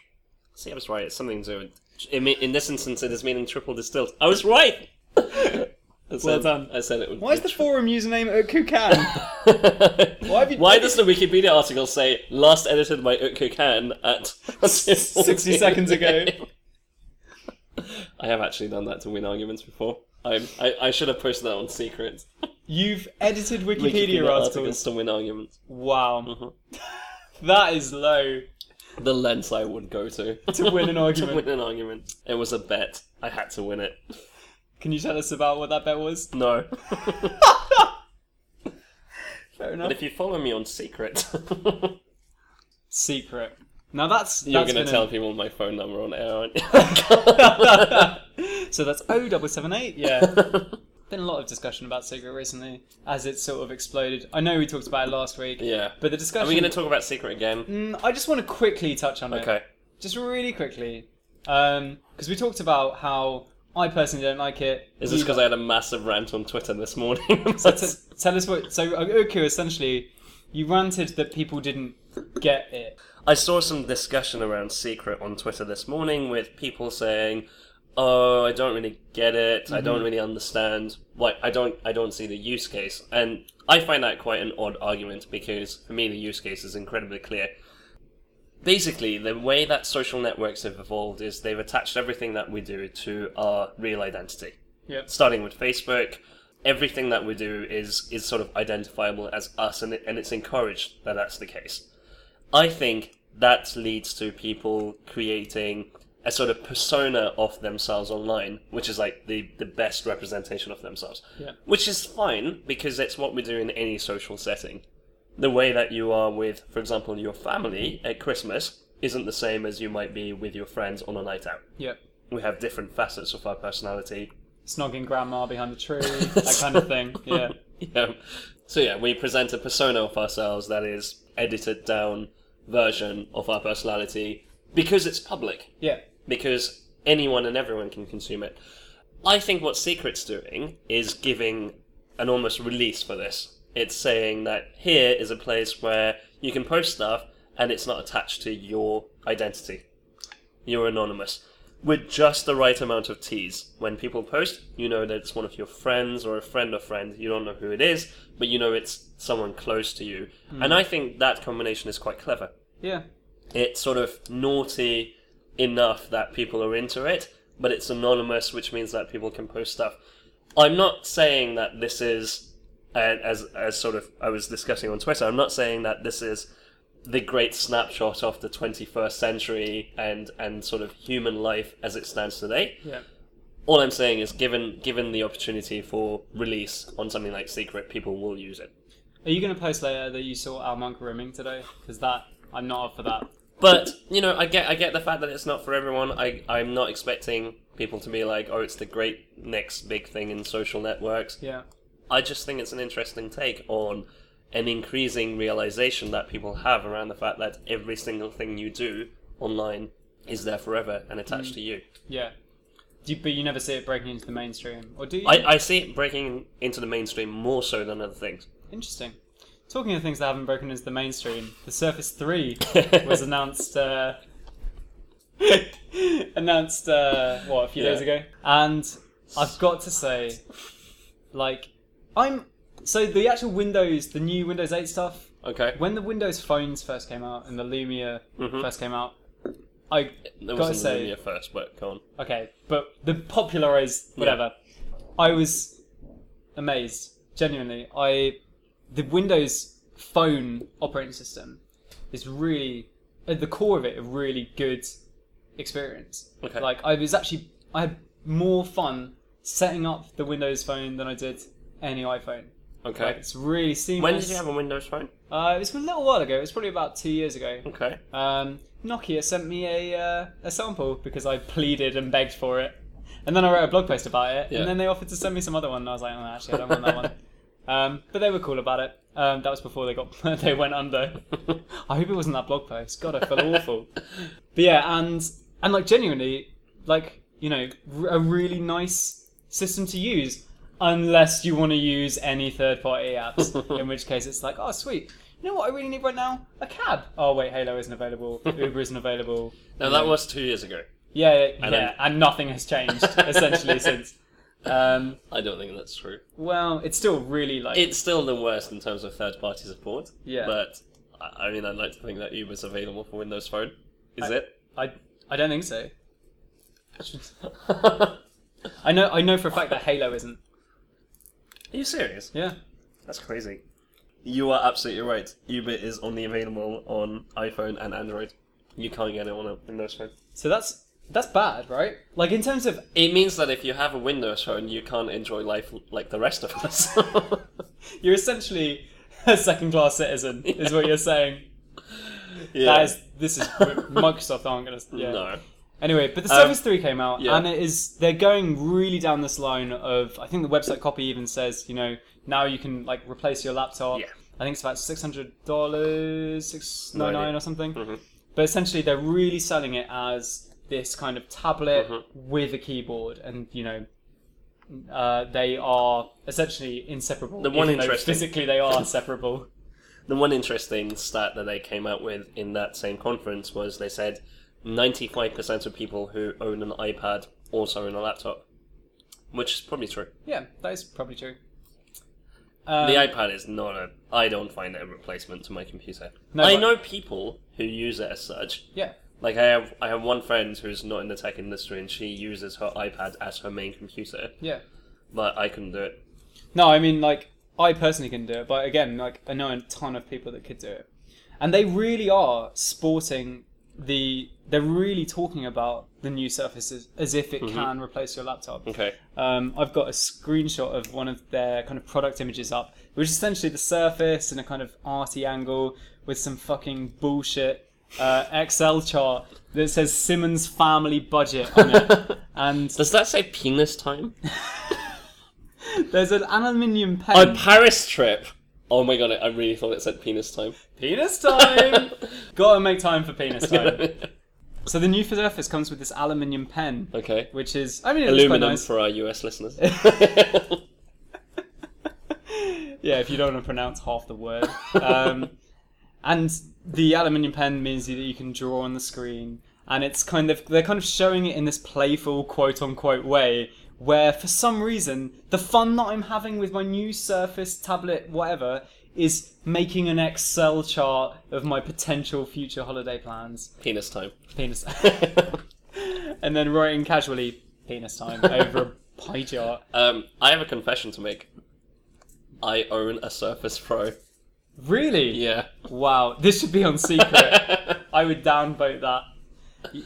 Speaker 1: See, I was right. It's something to. In, in this instance, it is meaning triple distilled. I was right. [LAUGHS] I said,
Speaker 2: done.
Speaker 1: I said it. would
Speaker 2: Why is
Speaker 1: be
Speaker 2: the forum username Okukan?
Speaker 1: [LAUGHS] Why,
Speaker 2: have you-
Speaker 1: does the Wikipedia article say last edited by Utku Khan
Speaker 2: [LAUGHS]
Speaker 1: at
Speaker 2: 60 seconds ago.
Speaker 1: [LAUGHS] I have actually done that to win arguments before. I'm, I, I should have posted that on secret.
Speaker 2: [LAUGHS] You've edited [LAUGHS] Wikipedia, articles.
Speaker 1: to win arguments.
Speaker 2: Wow.
Speaker 1: Uh-huh.
Speaker 2: [LAUGHS] That is low.
Speaker 1: The lengths I would go to
Speaker 2: [LAUGHS] To win
Speaker 1: [LAUGHS]
Speaker 2: an
Speaker 1: to
Speaker 2: argument.
Speaker 1: win an argument. It was a bet. I had to win
Speaker 2: [LAUGHS]
Speaker 1: it.
Speaker 2: Can you tell us about what that bet was?
Speaker 1: No.
Speaker 2: Fair
Speaker 1: [LAUGHS] but
Speaker 2: enough.
Speaker 1: if you follow me on secret, [LAUGHS]
Speaker 2: Secret. Now that's
Speaker 1: you're
Speaker 2: that's
Speaker 1: going to
Speaker 2: been
Speaker 1: tell people my phone number on air, aren't you? [LAUGHS]
Speaker 2: a- [LAUGHS] So that's O double seven eight. Yeah. [LAUGHS] been a lot of discussion about secret recently, as it's sort of exploded. I know we talked about it last week, [LAUGHS]
Speaker 1: yeah.
Speaker 2: but the discussion.
Speaker 1: Are we going to talk about secret again?
Speaker 2: Mm, I just want to quickly touch on it.
Speaker 1: Okay.
Speaker 2: Just really quickly, because we talked about how I personally don't like it.
Speaker 1: Is this
Speaker 2: You-
Speaker 1: because I had a massive rant on Twitter this morning? [LAUGHS]
Speaker 2: [LAUGHS] So t- tell us what. So uh, Oku essentially, you ranted that people didn't get it.
Speaker 1: I saw some discussion around Secret on Twitter this morning with people saying, "Oh, I don't really get it. I don't really understand. Like, I don't, I don't see the use case." And I find that quite an odd argument because for me, the use case is incredibly clear. Basically, the way that social networks have evolved is they've attached everything that we do to our real identity.
Speaker 2: Yep.
Speaker 1: starting with Facebook. Everything that we do is is sort of identifiable as us, and, it, and it's encouraged that that's the case. I think that leads to people creating a sort of persona of themselves online, which is like the, the best representation of themselves.
Speaker 2: Yeah.
Speaker 1: Which is fine because it's what we do in any social setting. The way that you are with, for example, your family at Christmas isn't the same as you might be with your friends on a night out
Speaker 2: Yep.
Speaker 1: we have different facets of our personality
Speaker 2: snogging grandma behind the
Speaker 1: [LAUGHS]
Speaker 2: tree, that kind of thing. Yeah.
Speaker 1: Yeah. So yeah, we present a persona of ourselves that is edited down version of our personality because it's public,
Speaker 2: Yeah.
Speaker 1: because anyone and everyone can consume it. I think what Secret's doing is giving an almost release for this. It's saying that here is a place where you can post stuff and it's not attached to your identity. You're anonymous. With just the right amount of tease. When people post, you know that it's one of your friends or a friend of friend. You don't know who it is, but you know it's someone close to you. And I think that combination is quite clever
Speaker 2: Yeah.
Speaker 1: it's sort of naughty enough that people are into it, but it's anonymous, which means that people can post stuff. I'm not saying that this is, uh, as as sort of I was discussing on Twitter, I'm not saying that this is the great snapshot of the 21st century and and sort of human life as it stands today.
Speaker 2: Yeah.
Speaker 1: All I'm saying is, given given the opportunity for release on something like Secret, people will use it.
Speaker 2: Are you going to post later that you saw Al Monk rimming today? Because that, I'm not up for that.
Speaker 1: But you know, I get I get the fact that it's not for everyone. I I'm not expecting people to be like, oh, it's the great next big thing in social networks.
Speaker 2: Yeah.
Speaker 1: I just think it's an interesting take on an increasing realization that people have around the fact that every single thing you do online is there forever and
Speaker 2: Mm.
Speaker 1: attached to you.
Speaker 2: Yeah. Do you, but you never see it breaking into the mainstream, or do you?
Speaker 1: I, I see it breaking into the mainstream more so than other things.
Speaker 2: Interesting. Talking of things that haven't broken into the mainstream, the Surface Three [LAUGHS] [LAUGHS] was announced. Uh, [LAUGHS] announced uh, what a few days
Speaker 1: Yeah.
Speaker 2: ago, and I've got to say, like, I'm so the actual Windows, the new Windows 8 stuff.
Speaker 1: [LAUGHS] Okay.
Speaker 2: When the Windows phones first came out and the Lumia
Speaker 1: Mhm.
Speaker 2: first came out, I
Speaker 1: There
Speaker 2: gotta
Speaker 1: wasn't
Speaker 2: say-
Speaker 1: Lumia first, but go on.
Speaker 2: Okay, but the popularized whatever. I was amazed, genuinely. I the Windows phone operating system is really at the core of it a really good experience.
Speaker 1: Okay.
Speaker 2: Like I was actually I had more fun setting up the Windows phone than I did any iPhone. Like,
Speaker 1: Okay.
Speaker 2: it's really seamless.
Speaker 1: When did you have a Windows phone?
Speaker 2: Uh, it was a little while ago. It was probably about two years ago.
Speaker 1: Okay.
Speaker 2: Um, Nokia sent me a uh, a sample because I pleaded and begged for it, and then I wrote a blog post about it,
Speaker 1: Yeah.
Speaker 2: and then they offered to send me some other one, and I was like, oh, actually, I don't want
Speaker 1: [LAUGHS]
Speaker 2: that one. Um, but they were cool about it. Um, that was before they got [LAUGHS] they went under.
Speaker 1: [LAUGHS]
Speaker 2: I hope it wasn't that blog post. God, I feel awful. But yeah, and and like genuinely, like you know, r- a really nice system to use, unless you want to use any third party apps, in which case it's like, oh sweet. You know what I really need right now? A cab. Oh wait, Halo isn't available. Uber isn't available.
Speaker 1: Now that was two years ago.
Speaker 2: Yeah, yeah, yeah.
Speaker 1: And then-
Speaker 2: and nothing has changed essentially since. Um,
Speaker 1: I don't think that's true.
Speaker 2: well, it's still really like
Speaker 1: It's still the worst in terms of third party support.
Speaker 2: Yeah.
Speaker 1: But I I mean, I'd like to think that Uber's available for Windows Phone. Is
Speaker 2: I-
Speaker 1: [LAUGHS] it?
Speaker 2: I I don't think so. I know I know for a fact that Halo isn't.
Speaker 1: Are you serious?
Speaker 2: Yeah.
Speaker 1: That's crazy. You are absolutely right. Uber is only available on iPhone and Android. You can't get it on a Windows phone.
Speaker 2: So that's that's bad, right? Like in terms of
Speaker 1: It means that if you have a Windows phone, you can't enjoy life like the rest of us. [LAUGHS]
Speaker 2: [LAUGHS] you're essentially a second class citizen, is what you're saying.
Speaker 1: yeah.
Speaker 2: That is this is Microsoft aren't gonna yeah.
Speaker 1: No.
Speaker 2: Anyway, but the
Speaker 1: Um,
Speaker 2: Surface 3 came out,
Speaker 1: yeah.
Speaker 2: and it is they're going really down this line of I think the website copy even says you know now you can like replace your laptop.
Speaker 1: Yeah.
Speaker 2: I think it's about six hundred dollars, six ninety nine
Speaker 1: Ninety.
Speaker 2: or something.
Speaker 1: Mhm.
Speaker 2: But essentially, they're really selling it as this kind of tablet
Speaker 1: Mm-hmm.
Speaker 2: with a keyboard, and you know. Uh, they are essentially inseparable.
Speaker 1: The one
Speaker 2: even though
Speaker 1: interesting-
Speaker 2: physically they are [LAUGHS] separable.
Speaker 1: The one interesting stat that they came out with in that same conference was they said 95% of people who own an iPad also own a laptop, which is probably true.
Speaker 2: Yeah, that is probably true. Um,
Speaker 1: the iPad is not a. I don't find it a replacement to my computer.
Speaker 2: No,
Speaker 1: I
Speaker 2: but-
Speaker 1: know people who use it as such.
Speaker 2: yeah,
Speaker 1: Like I have, I have one friend who's not in the tech industry, and she uses her iPad as her main computer.
Speaker 2: yeah.
Speaker 1: But I couldn't do it.
Speaker 2: No, I mean like I personally can do it, but again, like I know a ton of people that could do it, and they really are sporting the. They're really talking about the new surfaces as if it can replace your laptop.
Speaker 1: [LAUGHS] Okay.
Speaker 2: Um, I've got a screenshot of one of their kind of product images up, which is essentially the surface in a kind of arty angle with some fucking
Speaker 1: [LAUGHS]
Speaker 2: bullshit uh, Excel chart that says Simmons family budget on it. and
Speaker 1: Does that say penis time?
Speaker 2: there's an aluminium pen.
Speaker 1: On Paris trip. Oh my god, I really thought it said penis time. [LAUGHS]
Speaker 2: penis time. Gotta make time for penis time. so the new Surface comes with this aluminium pen,
Speaker 1: okay.
Speaker 2: which is I mean it's quite
Speaker 1: Aluminum
Speaker 2: nice.
Speaker 1: for our US listeners.
Speaker 2: [LAUGHS] yeah, if you don't want to pronounce half the word. Um, and the aluminium pen means that you can draw on the screen, and it's kind of they're kind of showing it in this playful quote unquote way, where for some reason the fun that I'm having with my new Surface tablet, whatever, is making an Excel chart of my potential future holiday plans.
Speaker 1: [LAUGHS] penis time. [LAUGHS]
Speaker 2: Penis. and then writing casually penis time over a pie chart.
Speaker 1: Um, I have a confession to make. I own a Surface Pro.
Speaker 2: Really?
Speaker 1: [LAUGHS] Yeah.
Speaker 2: Wow, this should be on secret. I would downvote that.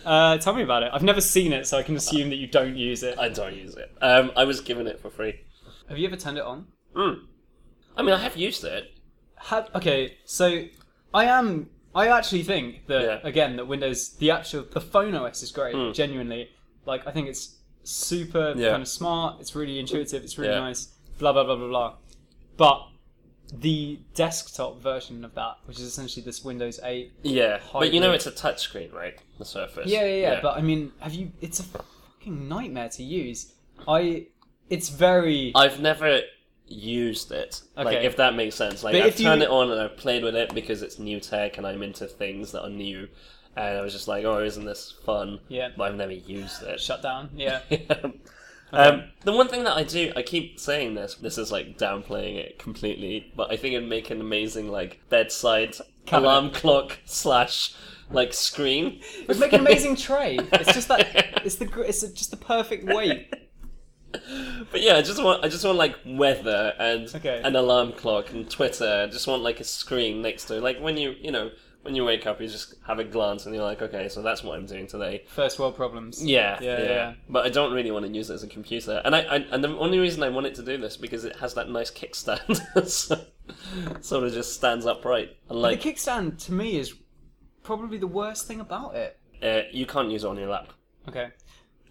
Speaker 2: Uh, tell me about it. I've never seen it, so I can assume that you don't use it.
Speaker 1: I don't use it. Um, I was given it for free.
Speaker 2: Have you ever turned it on? Hmm.
Speaker 1: Mm. I mean, I have used it.
Speaker 2: Have, okay, so I am. I actually think that
Speaker 1: Yeah. Hmm.
Speaker 2: again that Windows, the actual the Phone OS is great. Genuinely, like I think it's super
Speaker 1: Yeah.
Speaker 2: kind of smart. It's really intuitive. It's really
Speaker 1: Yeah.
Speaker 2: nice. Blah blah blah blah blah. But the desktop version of that, which is essentially this Windows 8.
Speaker 1: Yeah. But you know,
Speaker 2: Hardly.
Speaker 1: it's a touchscreen, right? The Surface.
Speaker 2: Yeah, yeah, yeah, But I mean, have you? It's a fucking nightmare to use. I. It's very.
Speaker 1: I've never used it. Like,
Speaker 2: Okay.
Speaker 1: if that makes sense. Like,
Speaker 2: But
Speaker 1: I've
Speaker 2: if you-
Speaker 1: turned it on and I've played with it because it's new tech and I'm into things that are new. And I was just like, oh, isn't this fun?
Speaker 2: Yeah.
Speaker 1: But I've never used it. [LAUGHS]
Speaker 2: shut down. Yeah.
Speaker 1: Um, the one thing that I do, I keep saying this. This is like downplaying it completely, but I think it'd make an amazing like bedside
Speaker 2: Cabinet.
Speaker 1: alarm clock [LAUGHS] slash like screen.
Speaker 2: It'd make an amazing tray. It's just that. It's the. gr- It's just the perfect weight.
Speaker 1: [LAUGHS] But yeah, I just want I just want like weather and
Speaker 2: Okay.
Speaker 1: an alarm clock and Twitter. I just want like a screen next to like when you you know when you wake up, you just have a glance and you're like, okay, so that's what I'm doing today.
Speaker 2: First world problems.
Speaker 1: Yeah,
Speaker 2: Yeah,
Speaker 1: yeah,
Speaker 2: yeah.
Speaker 1: But I don't really want to use it as a computer, and I, I and the only reason I want it to do this because it has that nice kickstand, [LAUGHS] so, sort of just stands upright. And
Speaker 2: The
Speaker 1: like
Speaker 2: kickstand to me is probably the worst thing about it.
Speaker 1: uh, you can't use it on your lap.
Speaker 2: Okay.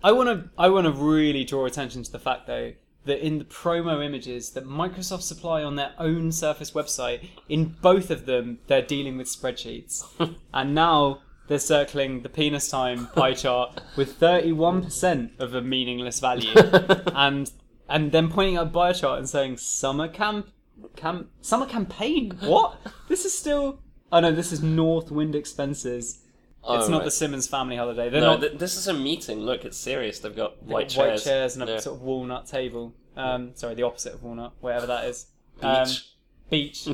Speaker 2: I want to. I want to really draw attention to the fact though that in the promo images that Microsoft supply on their own Surface website, in both of them they're dealing with spreadsheets, and now they're circling the penis time
Speaker 1: [LAUGHS]
Speaker 2: pie chart with thirty-one percent of a
Speaker 1: [LAUGHS]
Speaker 2: meaningless value, and and then pointing out bio chart and saying summer camp, camp summer campaign. What? This is still. Oh no, this is Northwind expenses. It's
Speaker 1: Oh,
Speaker 2: not
Speaker 1: right.
Speaker 2: the Simmons family holiday. They're
Speaker 1: No,
Speaker 2: not
Speaker 1: th- this is a meeting. Look, it's serious. They've got white
Speaker 2: white
Speaker 1: chairs.
Speaker 2: chairs and a
Speaker 1: Yeah.
Speaker 2: sort of walnut table. Um, sorry, the opposite of walnut, wherever that is.
Speaker 1: beach,
Speaker 2: Um,
Speaker 1: [LAUGHS]
Speaker 2: beach.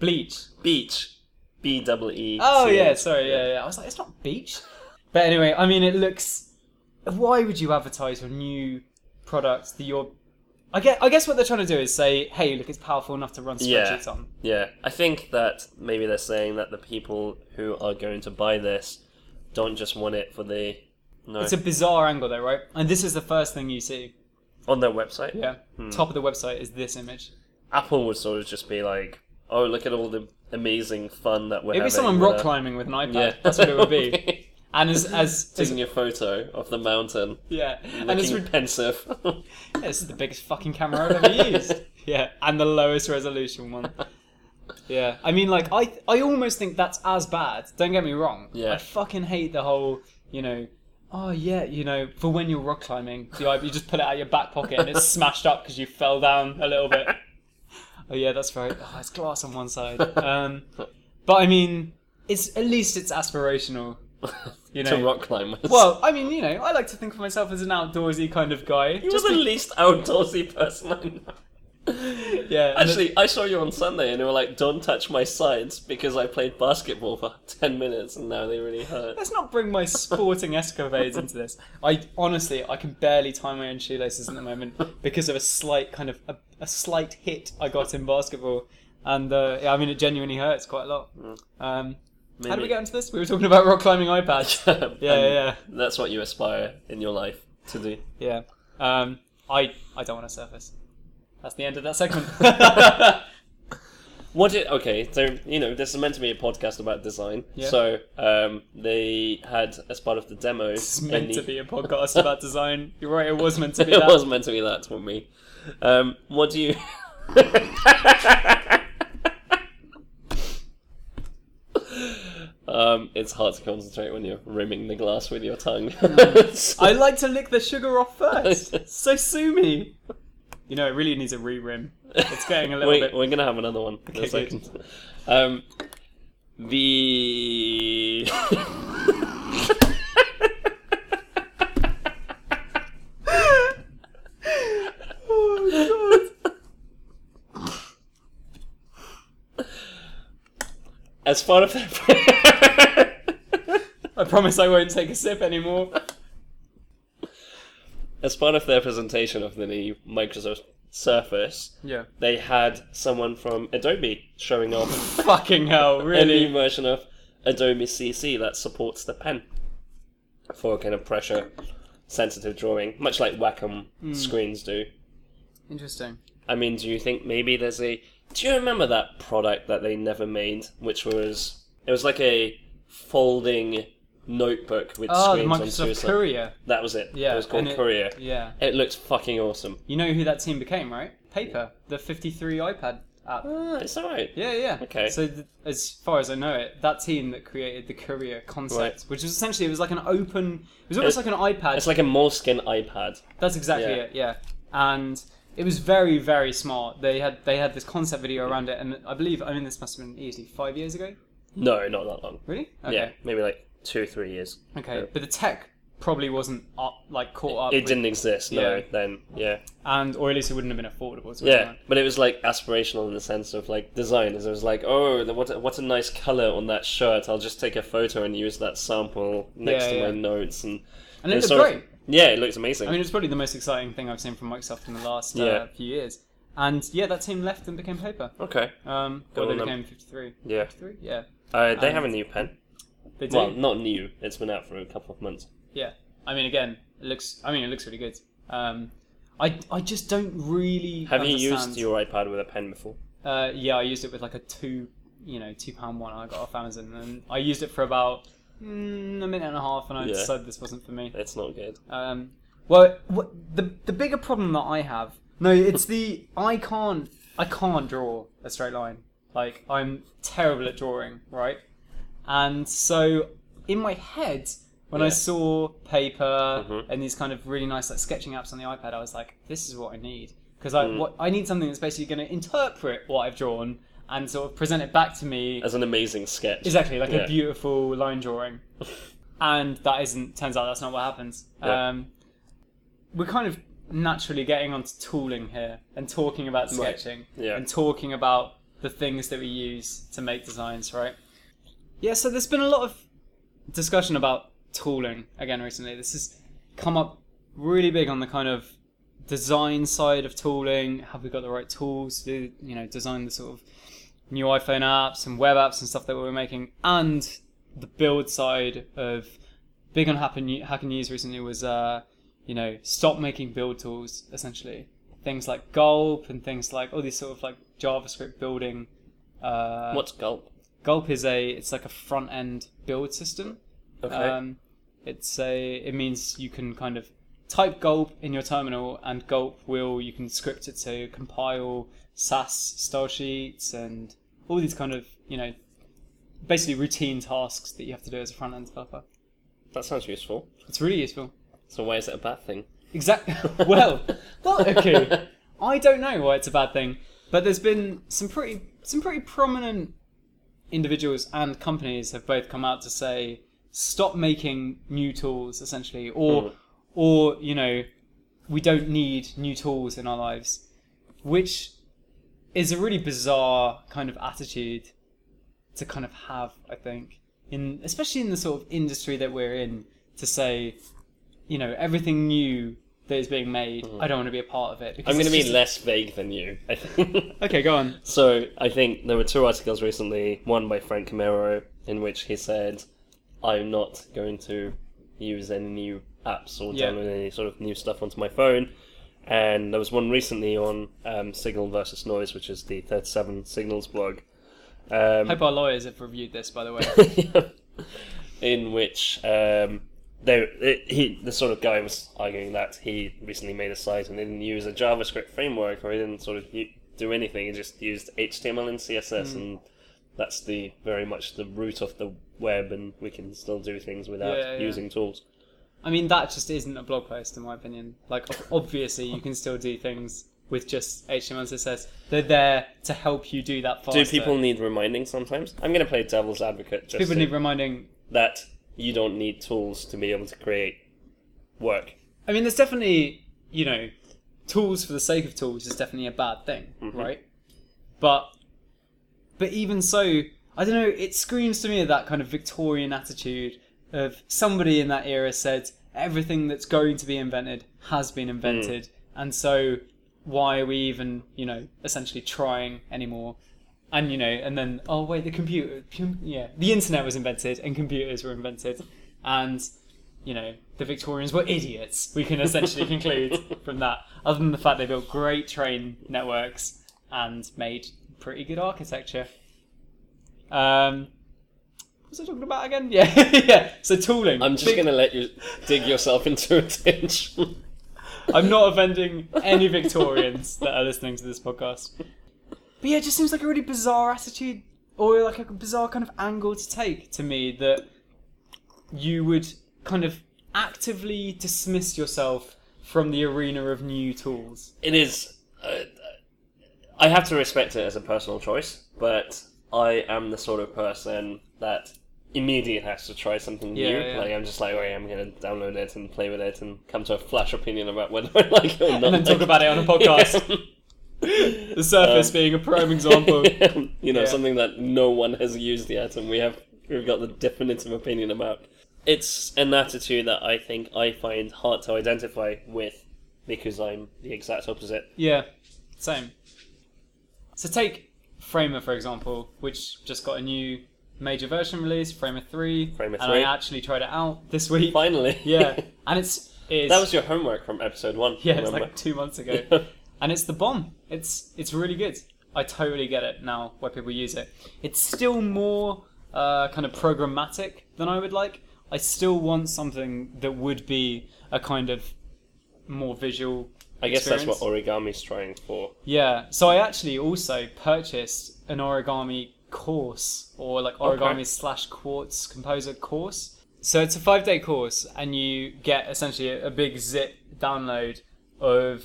Speaker 2: Bleach.
Speaker 1: beach, B double E.
Speaker 2: Oh
Speaker 1: C
Speaker 2: yeah,
Speaker 1: H.
Speaker 2: sorry, yeah, yeah. I was like, it's not beach. But anyway, I mean, it looks. Why would you advertise your new product that you're? I guess, I guess what they're trying to do is say, hey, look, it's powerful enough to run
Speaker 1: Yeah.
Speaker 2: spreadsheets on.
Speaker 1: Yeah, I think that maybe they're saying that the people who are going to buy this don't just want it for the no
Speaker 2: It's a bizarre angle, though, right? And this is the first thing you see.
Speaker 1: on their website.
Speaker 2: Yeah.
Speaker 1: Hmm.
Speaker 2: Top of the website is this image.
Speaker 1: Apple would sort of just be like, "Oh, look at all the amazing fun that we're
Speaker 2: It'd
Speaker 1: having."
Speaker 2: be someone rock
Speaker 1: with our-"
Speaker 2: climbing with an iPad.
Speaker 1: Yeah,
Speaker 2: That's what it would
Speaker 1: [LAUGHS]
Speaker 2: be. And as as, as
Speaker 1: Taking a photo of the mountain,
Speaker 2: yeah, and it's
Speaker 1: looking
Speaker 2: [LAUGHS]
Speaker 1: pensive.
Speaker 2: Yeah,
Speaker 1: [LAUGHS]
Speaker 2: this is the biggest fucking camera I've ever used. yeah, and the lowest resolution one. Yeah, I mean, like, I I almost think that's as bad. Don't get me wrong.
Speaker 1: Yeah.
Speaker 2: I fucking hate the whole, you know, oh yeah, you know, for when you're rock climbing, the eye- you just pull it out of your back pocket and it's smashed up because you fell down a little bit. oh yeah, that's right. Oh, it's glass on one side. Um, but I mean, it's at least it's aspirational. You know.
Speaker 1: to rock climbers.
Speaker 2: well, I mean, you know, I like to think of myself as an outdoorsy kind of guy.
Speaker 1: you're
Speaker 2: Just
Speaker 1: the
Speaker 2: be-
Speaker 1: least outdoorsy person I know.
Speaker 2: yeah, and
Speaker 1: Actually, I saw you on Sunday, and you were like, "Don't touch my sides," because I played basketball for [LAUGHS] ten minutes, and now they really hurt.
Speaker 2: Let's not bring my sporting escapades into this. I honestly, I can barely tie my own shoelaces at the moment because of a slight kind of a, a slight hit I got in basketball, and uh, yeah, I mean it genuinely hurts quite a lot. Um, how did we
Speaker 1: Maybe- [LAUGHS]
Speaker 2: get into this? We were talking about rock climbing iPads.
Speaker 1: And
Speaker 2: Yeah, yeah,
Speaker 1: That's what you aspire in your life to do.
Speaker 2: yeah. Um, I I don't want to surface. That's the end of that segment.
Speaker 1: What did okay? So you know, this is meant to be a podcast about design.
Speaker 2: Yeah.
Speaker 1: So um, they had as part of the demo,
Speaker 2: [LAUGHS] It's meant
Speaker 1: in
Speaker 2: to
Speaker 1: the-
Speaker 2: be a podcast about design. You're right. It was meant to
Speaker 1: [LAUGHS]
Speaker 2: be
Speaker 1: it
Speaker 2: that.
Speaker 1: was meant to be that for me. Um, what do you? [LAUGHS] um, it's hard to concentrate when you're rimming the glass with your tongue. [LAUGHS]
Speaker 2: I like to lick the sugar off first. so sue me. You know, it really needs a re-rim. It's getting a little
Speaker 1: Wait,
Speaker 2: bit.
Speaker 1: we're gonna have another one in a
Speaker 2: Okay, good.
Speaker 1: second. Um, the [LAUGHS]
Speaker 2: Oh, God.
Speaker 1: as part of their [LAUGHS]
Speaker 2: [LAUGHS] I promise I won't take a sip anymore.
Speaker 1: as part of their presentation of the new Microsoft Surface,
Speaker 2: Yeah.
Speaker 1: they had someone from Adobe showing
Speaker 2: [LAUGHS]
Speaker 1: off
Speaker 2: Fucking hell,
Speaker 1: a new
Speaker 2: really.
Speaker 1: version of Adobe CC that supports the pen for kind of pressure sensitive drawing, much like Wacom
Speaker 2: Hmm.
Speaker 1: screens do.
Speaker 2: Interesting.
Speaker 1: I mean, do you think maybe there's a? Do you remember that product that they never made, which was it was like a folding notebook with
Speaker 2: Oh, the
Speaker 1: screens on two
Speaker 2: Microsoft
Speaker 1: sides.
Speaker 2: Courier.
Speaker 1: That was it.
Speaker 2: Yeah.
Speaker 1: it was called
Speaker 2: and it-
Speaker 1: Courier.
Speaker 2: Yeah.
Speaker 1: It looks fucking awesome.
Speaker 2: You know who that team became, right? Paper, the 53 iPad app.
Speaker 1: Ah, it's alright.
Speaker 2: Yeah, yeah.
Speaker 1: Okay.
Speaker 2: So, th- as far as I know it, that team that created the Courier concept, which was essentially it was like an open, it was almost
Speaker 1: It-
Speaker 2: like an iPad.
Speaker 1: It's like a moleskin iPad.
Speaker 2: That's exactly
Speaker 1: Yeah.
Speaker 2: it. Yeah, and it was very very smart. They had they had this concept video around it, and I believe I mean this must have been easily five years ago.
Speaker 1: No, not that long.
Speaker 2: Really? Okay.
Speaker 1: Yeah, maybe like two, three years.
Speaker 2: Okay.
Speaker 1: Yeah.
Speaker 2: But the tech probably wasn't up like caught up,
Speaker 1: It
Speaker 2: with-
Speaker 1: didn't exist. No,
Speaker 2: Yeah.
Speaker 1: then yeah,
Speaker 2: and or at least it wouldn't have been affordable. To
Speaker 1: yeah.
Speaker 2: everyone.
Speaker 1: But it was like aspirational in the sense of like designers. It was like, oh, the- what a, what a nice color on that shirt. I'll just take a photo and use that sample next
Speaker 2: Yeah,
Speaker 1: to my
Speaker 2: yeah.
Speaker 1: notes and.
Speaker 2: and
Speaker 1: It
Speaker 2: it
Speaker 1: was sort
Speaker 2: looked great.
Speaker 1: of- yeah, it looks amazing.
Speaker 2: I mean, it's probably the most exciting thing I've seen from Microsoft in the last uh,
Speaker 1: Yeah.
Speaker 2: few years. And yeah, that team left and became Paper.
Speaker 1: okay.
Speaker 2: Um,
Speaker 1: Good
Speaker 2: or they
Speaker 1: on them.
Speaker 2: became 53.
Speaker 1: Yeah.
Speaker 2: 53? Yeah.
Speaker 1: Uh, they
Speaker 2: Um,
Speaker 1: have a new pen.
Speaker 2: They do.
Speaker 1: Well, not new. It's been out for a couple of months.
Speaker 2: Yeah. I mean, again, it looks. I mean, it looks really good. Um, I, I just don't really.
Speaker 1: Have you
Speaker 2: understand-
Speaker 1: used your iPad with a pen before?
Speaker 2: Uh, yeah, I used it with like a two, you know, two pound one I got off Amazon, and I used it for about mm, a minute and a half, and I
Speaker 1: Yeah.
Speaker 2: decided this wasn't for me.
Speaker 1: It's not good.
Speaker 2: Um, well, what, the the bigger problem that I have, no, it's the I can't I can't draw a straight line. Like I'm terrible at drawing, right? And so in my head, when I
Speaker 1: Yeah.
Speaker 2: saw paper
Speaker 1: Mhm.
Speaker 2: and these kind of really nice like sketching apps on the iPad, I was like, this is what I need because I what, I need something that's basically going to interpret what I've drawn and sort of present it back to me
Speaker 1: As an amazing sketch.
Speaker 2: Exactly, like
Speaker 1: Yeah.
Speaker 2: a beautiful line drawing. and that isn't, turns out that's not what happens.
Speaker 1: Yeah.
Speaker 2: Um, we're kind of naturally getting onto tooling here and talking about
Speaker 1: Right.
Speaker 2: sketching
Speaker 1: [LAUGHS] Yeah.
Speaker 2: and talking about the things that we use to make designs, right? Yeah, so there's been a lot of discussion about tooling again recently. This has come up really big on the kind of design side of tooling. Have we got the right tools to, you know, design the sort of new iPhone apps and web apps and stuff that we were making, and the build side of big on Hacker New- Hacker News recently was, uh, you know, stop making build tools essentially. Things like Gulp and things like all these sort of like JavaScript building. Uh,
Speaker 1: What's gulp?
Speaker 2: Gulp is a it's like a front end build system.
Speaker 1: Okay.
Speaker 2: Um, it's a it means you can kind of type gulp in your terminal and gulp will you can script it to compile SAS style sheets and all these kind of you know basically routine tasks that you have to do as a front end developer.
Speaker 1: that sounds useful.
Speaker 2: It's really useful.
Speaker 1: So why is it a bad thing?
Speaker 2: Exactly.
Speaker 1: [LAUGHS]
Speaker 2: [LAUGHS] well, well, okay. I don't know why it's a bad thing, but there's been some pretty some pretty prominent individuals and companies have both come out to say stop making new tools essentially, or
Speaker 1: Mm.
Speaker 2: or you know we don't need new tools in our lives, which is a really bizarre kind of attitude to kind of have, I think, in especially in the sort of industry that we're in, to say, you know, everything new that is being made, I don't want to be a part of it.
Speaker 1: [LAUGHS]
Speaker 2: Because
Speaker 1: Hmm. I'm going to
Speaker 2: it's
Speaker 1: be
Speaker 2: just-
Speaker 1: less vague than you. I think. [LAUGHS]
Speaker 2: Okay, go on.
Speaker 1: So I think there were two articles recently, one by Frank Camero, in which he said, "I'm not going to use any new apps or
Speaker 2: Yeah.
Speaker 1: download any sort of new stuff onto my phone," And there was one recently on um, Signal versus Noise, which is the 37 Signals blog. Um,
Speaker 2: Hope our lawyers have reviewed this, by the way.
Speaker 1: [LAUGHS] in which um, they, it, he, the sort of guy was arguing that he recently made a site and didn't use a JavaScript framework or he didn't sort of u- do anything. He just used HTML and CSS,
Speaker 2: Hmm.
Speaker 1: and that's the very much the root of the web, and we can still do things without
Speaker 2: Yeah, yeah.
Speaker 1: using tools.
Speaker 2: I mean, that just isn't a blog post, in my opinion. Like, ob- obviously, you can still do things with just HTML and CSS. They're there to help you do that faster.
Speaker 1: Do people need reminding sometimes? I'm going to play devil's advocate just
Speaker 2: People
Speaker 1: to-
Speaker 2: need reminding.
Speaker 1: that you don't need tools to be able to create work.
Speaker 2: I mean, there's definitely, you know, tools for the sake of tools is definitely a bad thing, right? But, but even so, I don't know. It screams to me of that kind of Victorian attitude of somebody in that era said everything that's going to be invented has been invented, and so why are we even, you know, essentially trying anymore? And you know, and then oh wait, the computer, com- yeah, the internet was invented and computers were invented, and you know the Victorians were idiots. We can
Speaker 1: [LAUGHS]
Speaker 2: essentially conclude from that, other than the fact they built great train networks and made pretty good architecture. Um, what was I talking about again? [LAUGHS] Yeah, yeah. So tooling.
Speaker 1: I'm just
Speaker 2: Big-
Speaker 1: going to let you dig yourself into a ditch.
Speaker 2: [LAUGHS] I'm not offending any Victorians that are listening to this podcast. But yeah, it just seems like a really bizarre attitude or like a bizarre kind of angle to take to me that you would kind of actively dismiss yourself from the arena of new tools.
Speaker 1: it is. Uh, I have to respect it as a personal choice, but I am the sort of person that immediately has to try something new.
Speaker 2: Yeah, yeah.
Speaker 1: Like I'm just like, okay, I'm going to download it and play with it and come to a flash opinion about whether I like it or not.
Speaker 2: And then talk
Speaker 1: Like-
Speaker 2: about
Speaker 1: [LAUGHS]
Speaker 2: it on a podcast.
Speaker 1: Yeah.
Speaker 2: The surface
Speaker 1: Um,
Speaker 2: being a
Speaker 1: [LAUGHS]
Speaker 2: prime example.
Speaker 1: you know,
Speaker 2: Yeah.
Speaker 1: something that no one has used yet, and we have we've got the definitive opinion about. It's an attitude that I think I find hard to identify with because I'm the exact opposite.
Speaker 2: Yeah, same. So take Framer for example, which just got a new major version release, Framer three.
Speaker 1: Framer
Speaker 2: and
Speaker 1: 3.
Speaker 2: I actually tried it out this week.
Speaker 1: Finally, [LAUGHS]
Speaker 2: Yeah, and it's it's
Speaker 1: that was your homework from episode one.
Speaker 2: yeah, it's
Speaker 1: remember?
Speaker 2: like [LAUGHS] two months ago, and it's the bomb. It's it's really good. I totally get it now why people use it. It's still more uh, kind of programmatic than I would like. I still want something that would be a kind of more visual.
Speaker 1: I guess that's what
Speaker 2: experience.
Speaker 1: origami's trying for.
Speaker 2: Yeah. So I actually also purchased an origami course or like origami slash quartz composer course. So it's a five day course, and you get essentially a, a big zip download of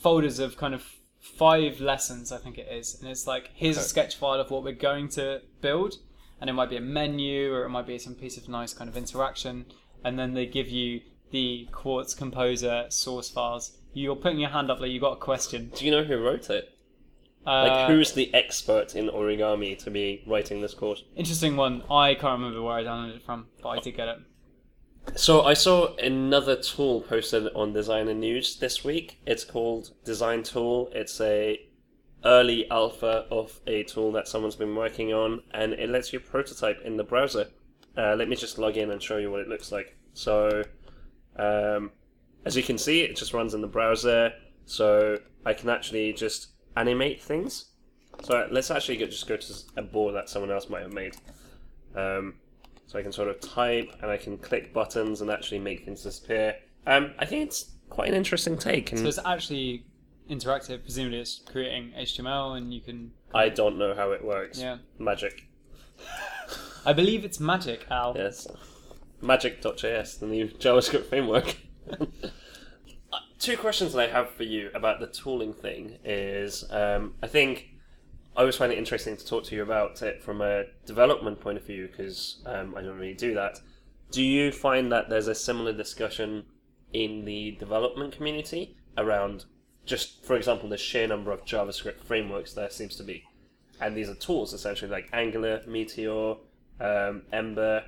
Speaker 2: folders of kind of five lessons, I think it is. And it's like, here's a
Speaker 1: Okay.
Speaker 2: sketch file of what we're going to build, and it might be a menu or it might be some piece of nice kind of interaction. And then they give you the quartz composer source files. You're putting your hand up like you've got a question.
Speaker 1: Do you know who wrote it?
Speaker 2: Uh,
Speaker 1: Like, who's the expert in origami to be writing this course?
Speaker 2: Interesting one. I can't remember where I downloaded it from, but I did get it.
Speaker 1: So I saw another tool posted on Designer News this week. It's called Design Tool. It's a early alpha of a tool that someone's been working on, and it lets you prototype in the browser. Uh, let me just log in and show you what it looks like. So, um, as you can see, it just runs in the browser. So I can actually just animate things. So let's actually go, just go to a board that someone else might have made. Um, so I can sort of type and I can click buttons and actually make things disappear. Um, I think it's quite an interesting take,
Speaker 2: So
Speaker 1: and
Speaker 2: it's actually interactive. Presumably, it's creating HTML, and you can.
Speaker 1: I don't know how it works.
Speaker 2: Yeah.
Speaker 1: Magic.
Speaker 2: I believe it's Magic, Al.
Speaker 1: Yes. Magic.js, the new [LAUGHS] JavaScript framework. [LAUGHS] Uh, Two questions that I have for you about the tooling thing is um, I think I always find it interesting to talk to you about it from a development point of view because um, I don't really do that. Do you find that there's a similar discussion in the development community around just, for example, the sheer number of JavaScript frameworks there seems to be? And these are tools essentially like Angular, Meteor, um, Ember,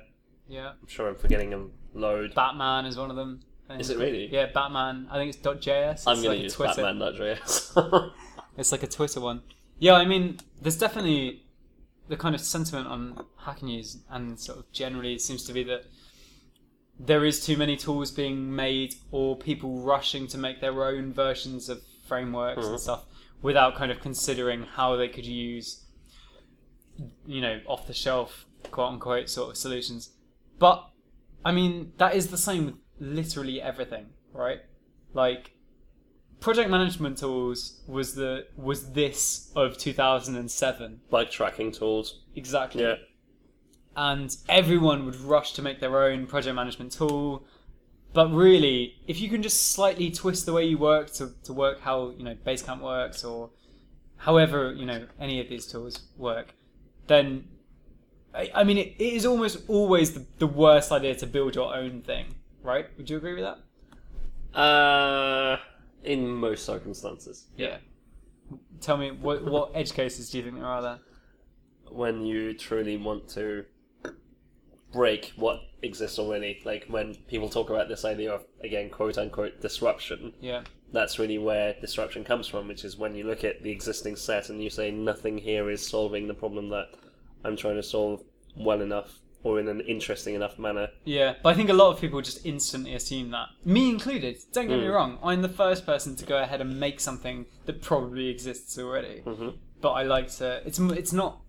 Speaker 2: Yeah.
Speaker 1: I'm sure I'm forgetting a load.
Speaker 2: Batman is one of them.
Speaker 1: Is it really?
Speaker 2: Yeah, Batman. I think it's .js. It's
Speaker 1: I'm gonna
Speaker 2: like a
Speaker 1: use
Speaker 2: Twitter.
Speaker 1: Batman.js.
Speaker 2: It's like a Twitter one. Yeah, I mean, there's definitely the kind of sentiment on Hacker News and sort of generally it seems to be that there is too many tools being made or people rushing to make their own versions of frameworks and stuff without kind of considering how they could use you know off the shelf quote unquote sort of solutions but i mean that is the same with literally everything right like project management tools was the was this of 2007
Speaker 1: [LAUGHS] Like tracking tools.
Speaker 2: exactly
Speaker 1: Yeah.
Speaker 2: and everyone would rush to make their own project management tool. But really, if you can just slightly twist the way you work to, to work how you know Basecamp works or however you know any of these tools work, then I, I mean it, it is almost always the, the worst idea to build your own thing, right? Would you agree with that?
Speaker 1: Uh, in most circumstances.
Speaker 2: Yeah. Tell me what what edge cases do you think there are there?
Speaker 1: When you truly want to break what exists already, like when people talk about this idea of, again, quote unquote, disruption,
Speaker 2: Yeah.
Speaker 1: that's really where disruption comes from, which is when you look at the existing set and you say nothing here is solving the problem that I'm trying to solve well enough or in an interesting enough manner.
Speaker 2: Yeah, but I think a lot of people just instantly assume that. Me included. Don't get me
Speaker 1: Mm.
Speaker 2: wrong. I'm the first person to go ahead and make something that probably exists already.
Speaker 1: Mhm.
Speaker 2: But I like to. It's m- it's not.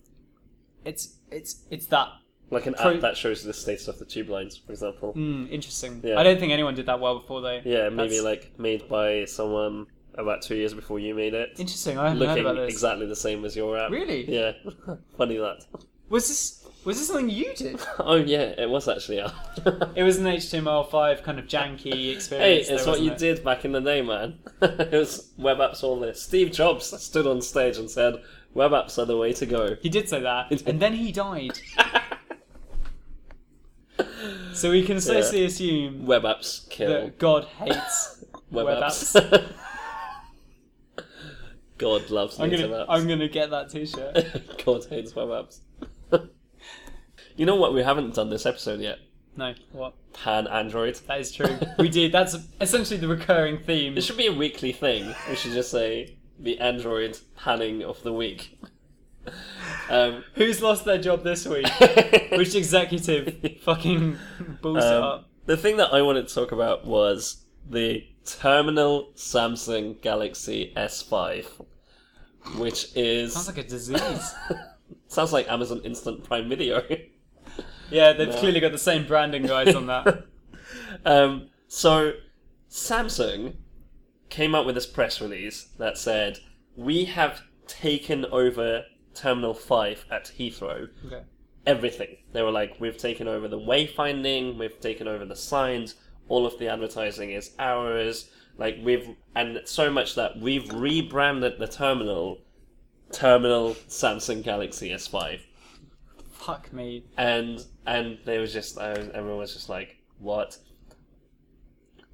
Speaker 2: It's it's it's that
Speaker 1: Like an
Speaker 2: Pro-
Speaker 1: app that shows the status of the tube lines, for example.
Speaker 2: mm, interesting.
Speaker 1: Yeah.
Speaker 2: I don't think anyone did that well before though.
Speaker 1: Yeah, maybe
Speaker 2: That's
Speaker 1: like made by someone about two years before you made it.
Speaker 2: interesting. I haven't heard
Speaker 1: looking
Speaker 2: about this.
Speaker 1: exactly the same as your app.
Speaker 2: Really?
Speaker 1: Yeah. [LAUGHS] Funny that.
Speaker 2: Was this was this something you did?
Speaker 1: Oh yeah, it was actually [LAUGHS] up.
Speaker 2: It was an HTML5 kind of janky
Speaker 1: [LAUGHS] hey,
Speaker 2: experience.
Speaker 1: it's
Speaker 2: though,
Speaker 1: what you
Speaker 2: wasn't it?
Speaker 1: did back in the day, man. [LAUGHS] it was web apps all this. Steve Jobs stood on stage and said, "Web apps are the way to
Speaker 2: [LAUGHS]
Speaker 1: go." [LAUGHS]
Speaker 2: He did say that,
Speaker 1: He did.
Speaker 2: and then he died. So we can safely assume
Speaker 1: web apps kill.
Speaker 2: that God
Speaker 1: [LAUGHS]
Speaker 2: hates
Speaker 1: web,
Speaker 2: web
Speaker 1: apps. [LAUGHS] God loves the
Speaker 2: I'm gonna,
Speaker 1: internet.
Speaker 2: I'm gonna get that T-shirt.
Speaker 1: [LAUGHS] God hates web apps. [LAUGHS] you know what? We haven't done this episode yet.
Speaker 2: no, what?
Speaker 1: Pan Android.
Speaker 2: That is true. We did. That's essentially the recurring theme.
Speaker 1: It should be a weekly thing. We should just say the Android panning of the week. [LAUGHS] Um, [LAUGHS]
Speaker 2: Who's lost their job this week? Which executive fucking balls it
Speaker 1: Um,
Speaker 2: up?
Speaker 1: the thing that I wanted to talk about was the terminal Samsung Galaxy S5, which is
Speaker 2: Sounds like a disease.
Speaker 1: [LAUGHS] sounds like Amazon Instant Prime Video.
Speaker 2: yeah, they've
Speaker 1: No.
Speaker 2: clearly got the same branding guys
Speaker 1: [LAUGHS]
Speaker 2: on that.
Speaker 1: um, so Samsung came out with this press release that said we have taken over Terminal Five at Heathrow.
Speaker 2: Okay.
Speaker 1: everything. They were like, we've taken over the wayfinding, we've taken over the signs, all of the advertising is ours. Like we've and so much that we've rebranded the terminal, terminal Samsung Galaxy S5,
Speaker 2: Fuck me.
Speaker 1: and and they was just I was, everyone was just like, what?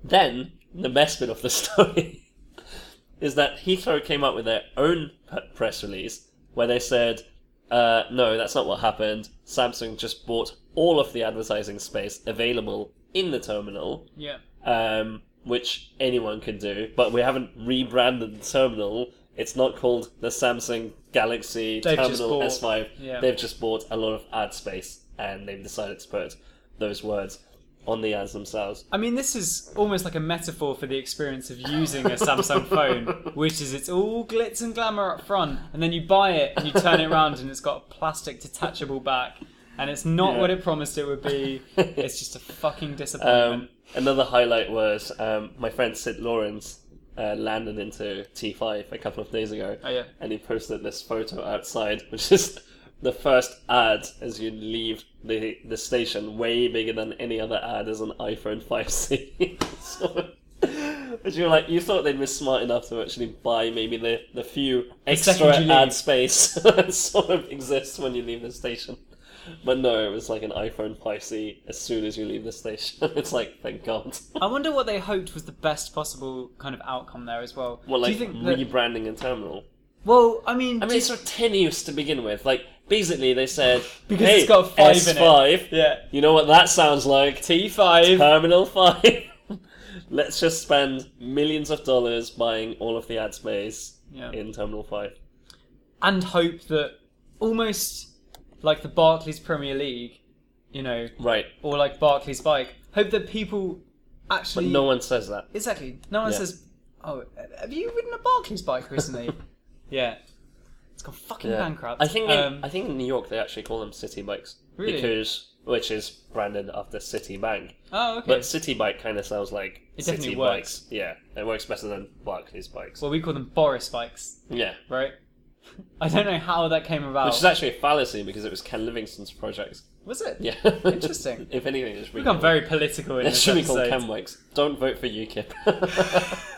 Speaker 1: Then the best bit of the [LAUGHS] story is that Heathrow came up with their own p- press release where they said, uh, no, that's not what happened. Samsung just bought all of the advertising space available in the terminal,
Speaker 2: Yeah.
Speaker 1: um, which anyone can do, but we haven't rebranded the terminal. It's not called the Samsung Galaxy
Speaker 2: They've just
Speaker 1: Terminal
Speaker 2: bought-
Speaker 1: S5.
Speaker 2: yeah.
Speaker 1: They've just bought a lot of ad space and they've decided to put those words on the ads themselves.
Speaker 2: I mean, this is almost like a metaphor for the experience of using
Speaker 1: [LAUGHS]
Speaker 2: a Samsung phone, which is it's all glitz and glamour up front, and then you buy it and you turn it around and it's got a plastic detachable back, and it's not
Speaker 1: Yeah.
Speaker 2: what it promised it would be. It's just a fucking disappointment.
Speaker 1: Um, another highlight was um, my friend Sid Lawrence uh, landed into T5 a couple of days ago.
Speaker 2: Oh, yeah.
Speaker 1: And he posted this photo outside, [LAUGHS] which is the first ad as you leave the, the station, way bigger than any other ad as an iPhone 5C. [LAUGHS] so, but you're like, you thought they'd be smart enough to actually buy maybe the, the few extra
Speaker 2: second you leave.
Speaker 1: ad space [LAUGHS] that sort of exists when you leave the station. But no, it was like an iPhone 5C as soon as you leave the station. [LAUGHS] It's like, thank God. [LAUGHS]
Speaker 2: I wonder what they hoped was the best possible kind of outcome there as well.
Speaker 1: Well, like
Speaker 2: Do you think that,
Speaker 1: rebranding and terminal.
Speaker 2: Well, I mean,
Speaker 1: I mean, it's sort of tenuous to begin with. Like, basically, they said
Speaker 2: [LAUGHS] Because
Speaker 1: hey,
Speaker 2: it's got a five in it."
Speaker 1: S5.
Speaker 2: yeah,
Speaker 1: You know what that sounds like? [LAUGHS]
Speaker 2: T5.
Speaker 1: Terminal five. [LAUGHS] Let's just spend millions of dollars buying all of the ad space
Speaker 2: Yeah.
Speaker 1: in Terminal Five.
Speaker 2: and hope that almost like the Barclays Premier League, you know,
Speaker 1: Right.
Speaker 2: or like Barclays Bike. Hope that people
Speaker 1: But
Speaker 2: actually
Speaker 1: no one says that.
Speaker 2: exactly. No one
Speaker 1: Yeah.
Speaker 2: says, "Oh, have you ridden a Barclays
Speaker 1: [LAUGHS]
Speaker 2: bike recently?" yeah, it's gone fucking
Speaker 1: Yeah.
Speaker 2: bankrupt.
Speaker 1: I think in,
Speaker 2: Um,
Speaker 1: I think in New York they actually call them city bikes
Speaker 2: Really?
Speaker 1: because which is branded after City Bank.
Speaker 2: oh, okay.
Speaker 1: But city bike kind of sounds like
Speaker 2: It
Speaker 1: city
Speaker 2: definitely works.
Speaker 1: bikes. Yeah, it works better than Barclays bikes.
Speaker 2: well, we call them Boris bikes,
Speaker 1: yeah,
Speaker 2: right? [LAUGHS] I don't know how that came about.
Speaker 1: which is actually a fallacy because it was Ken Livingston's project.
Speaker 2: Was it?
Speaker 1: Yeah,
Speaker 2: Interesting.
Speaker 1: [LAUGHS] if anything, it should be
Speaker 2: We've gone very political in
Speaker 1: It
Speaker 2: this
Speaker 1: should be called
Speaker 2: episode.
Speaker 1: Ken Bikes. Don't vote for UKIP. [LAUGHS]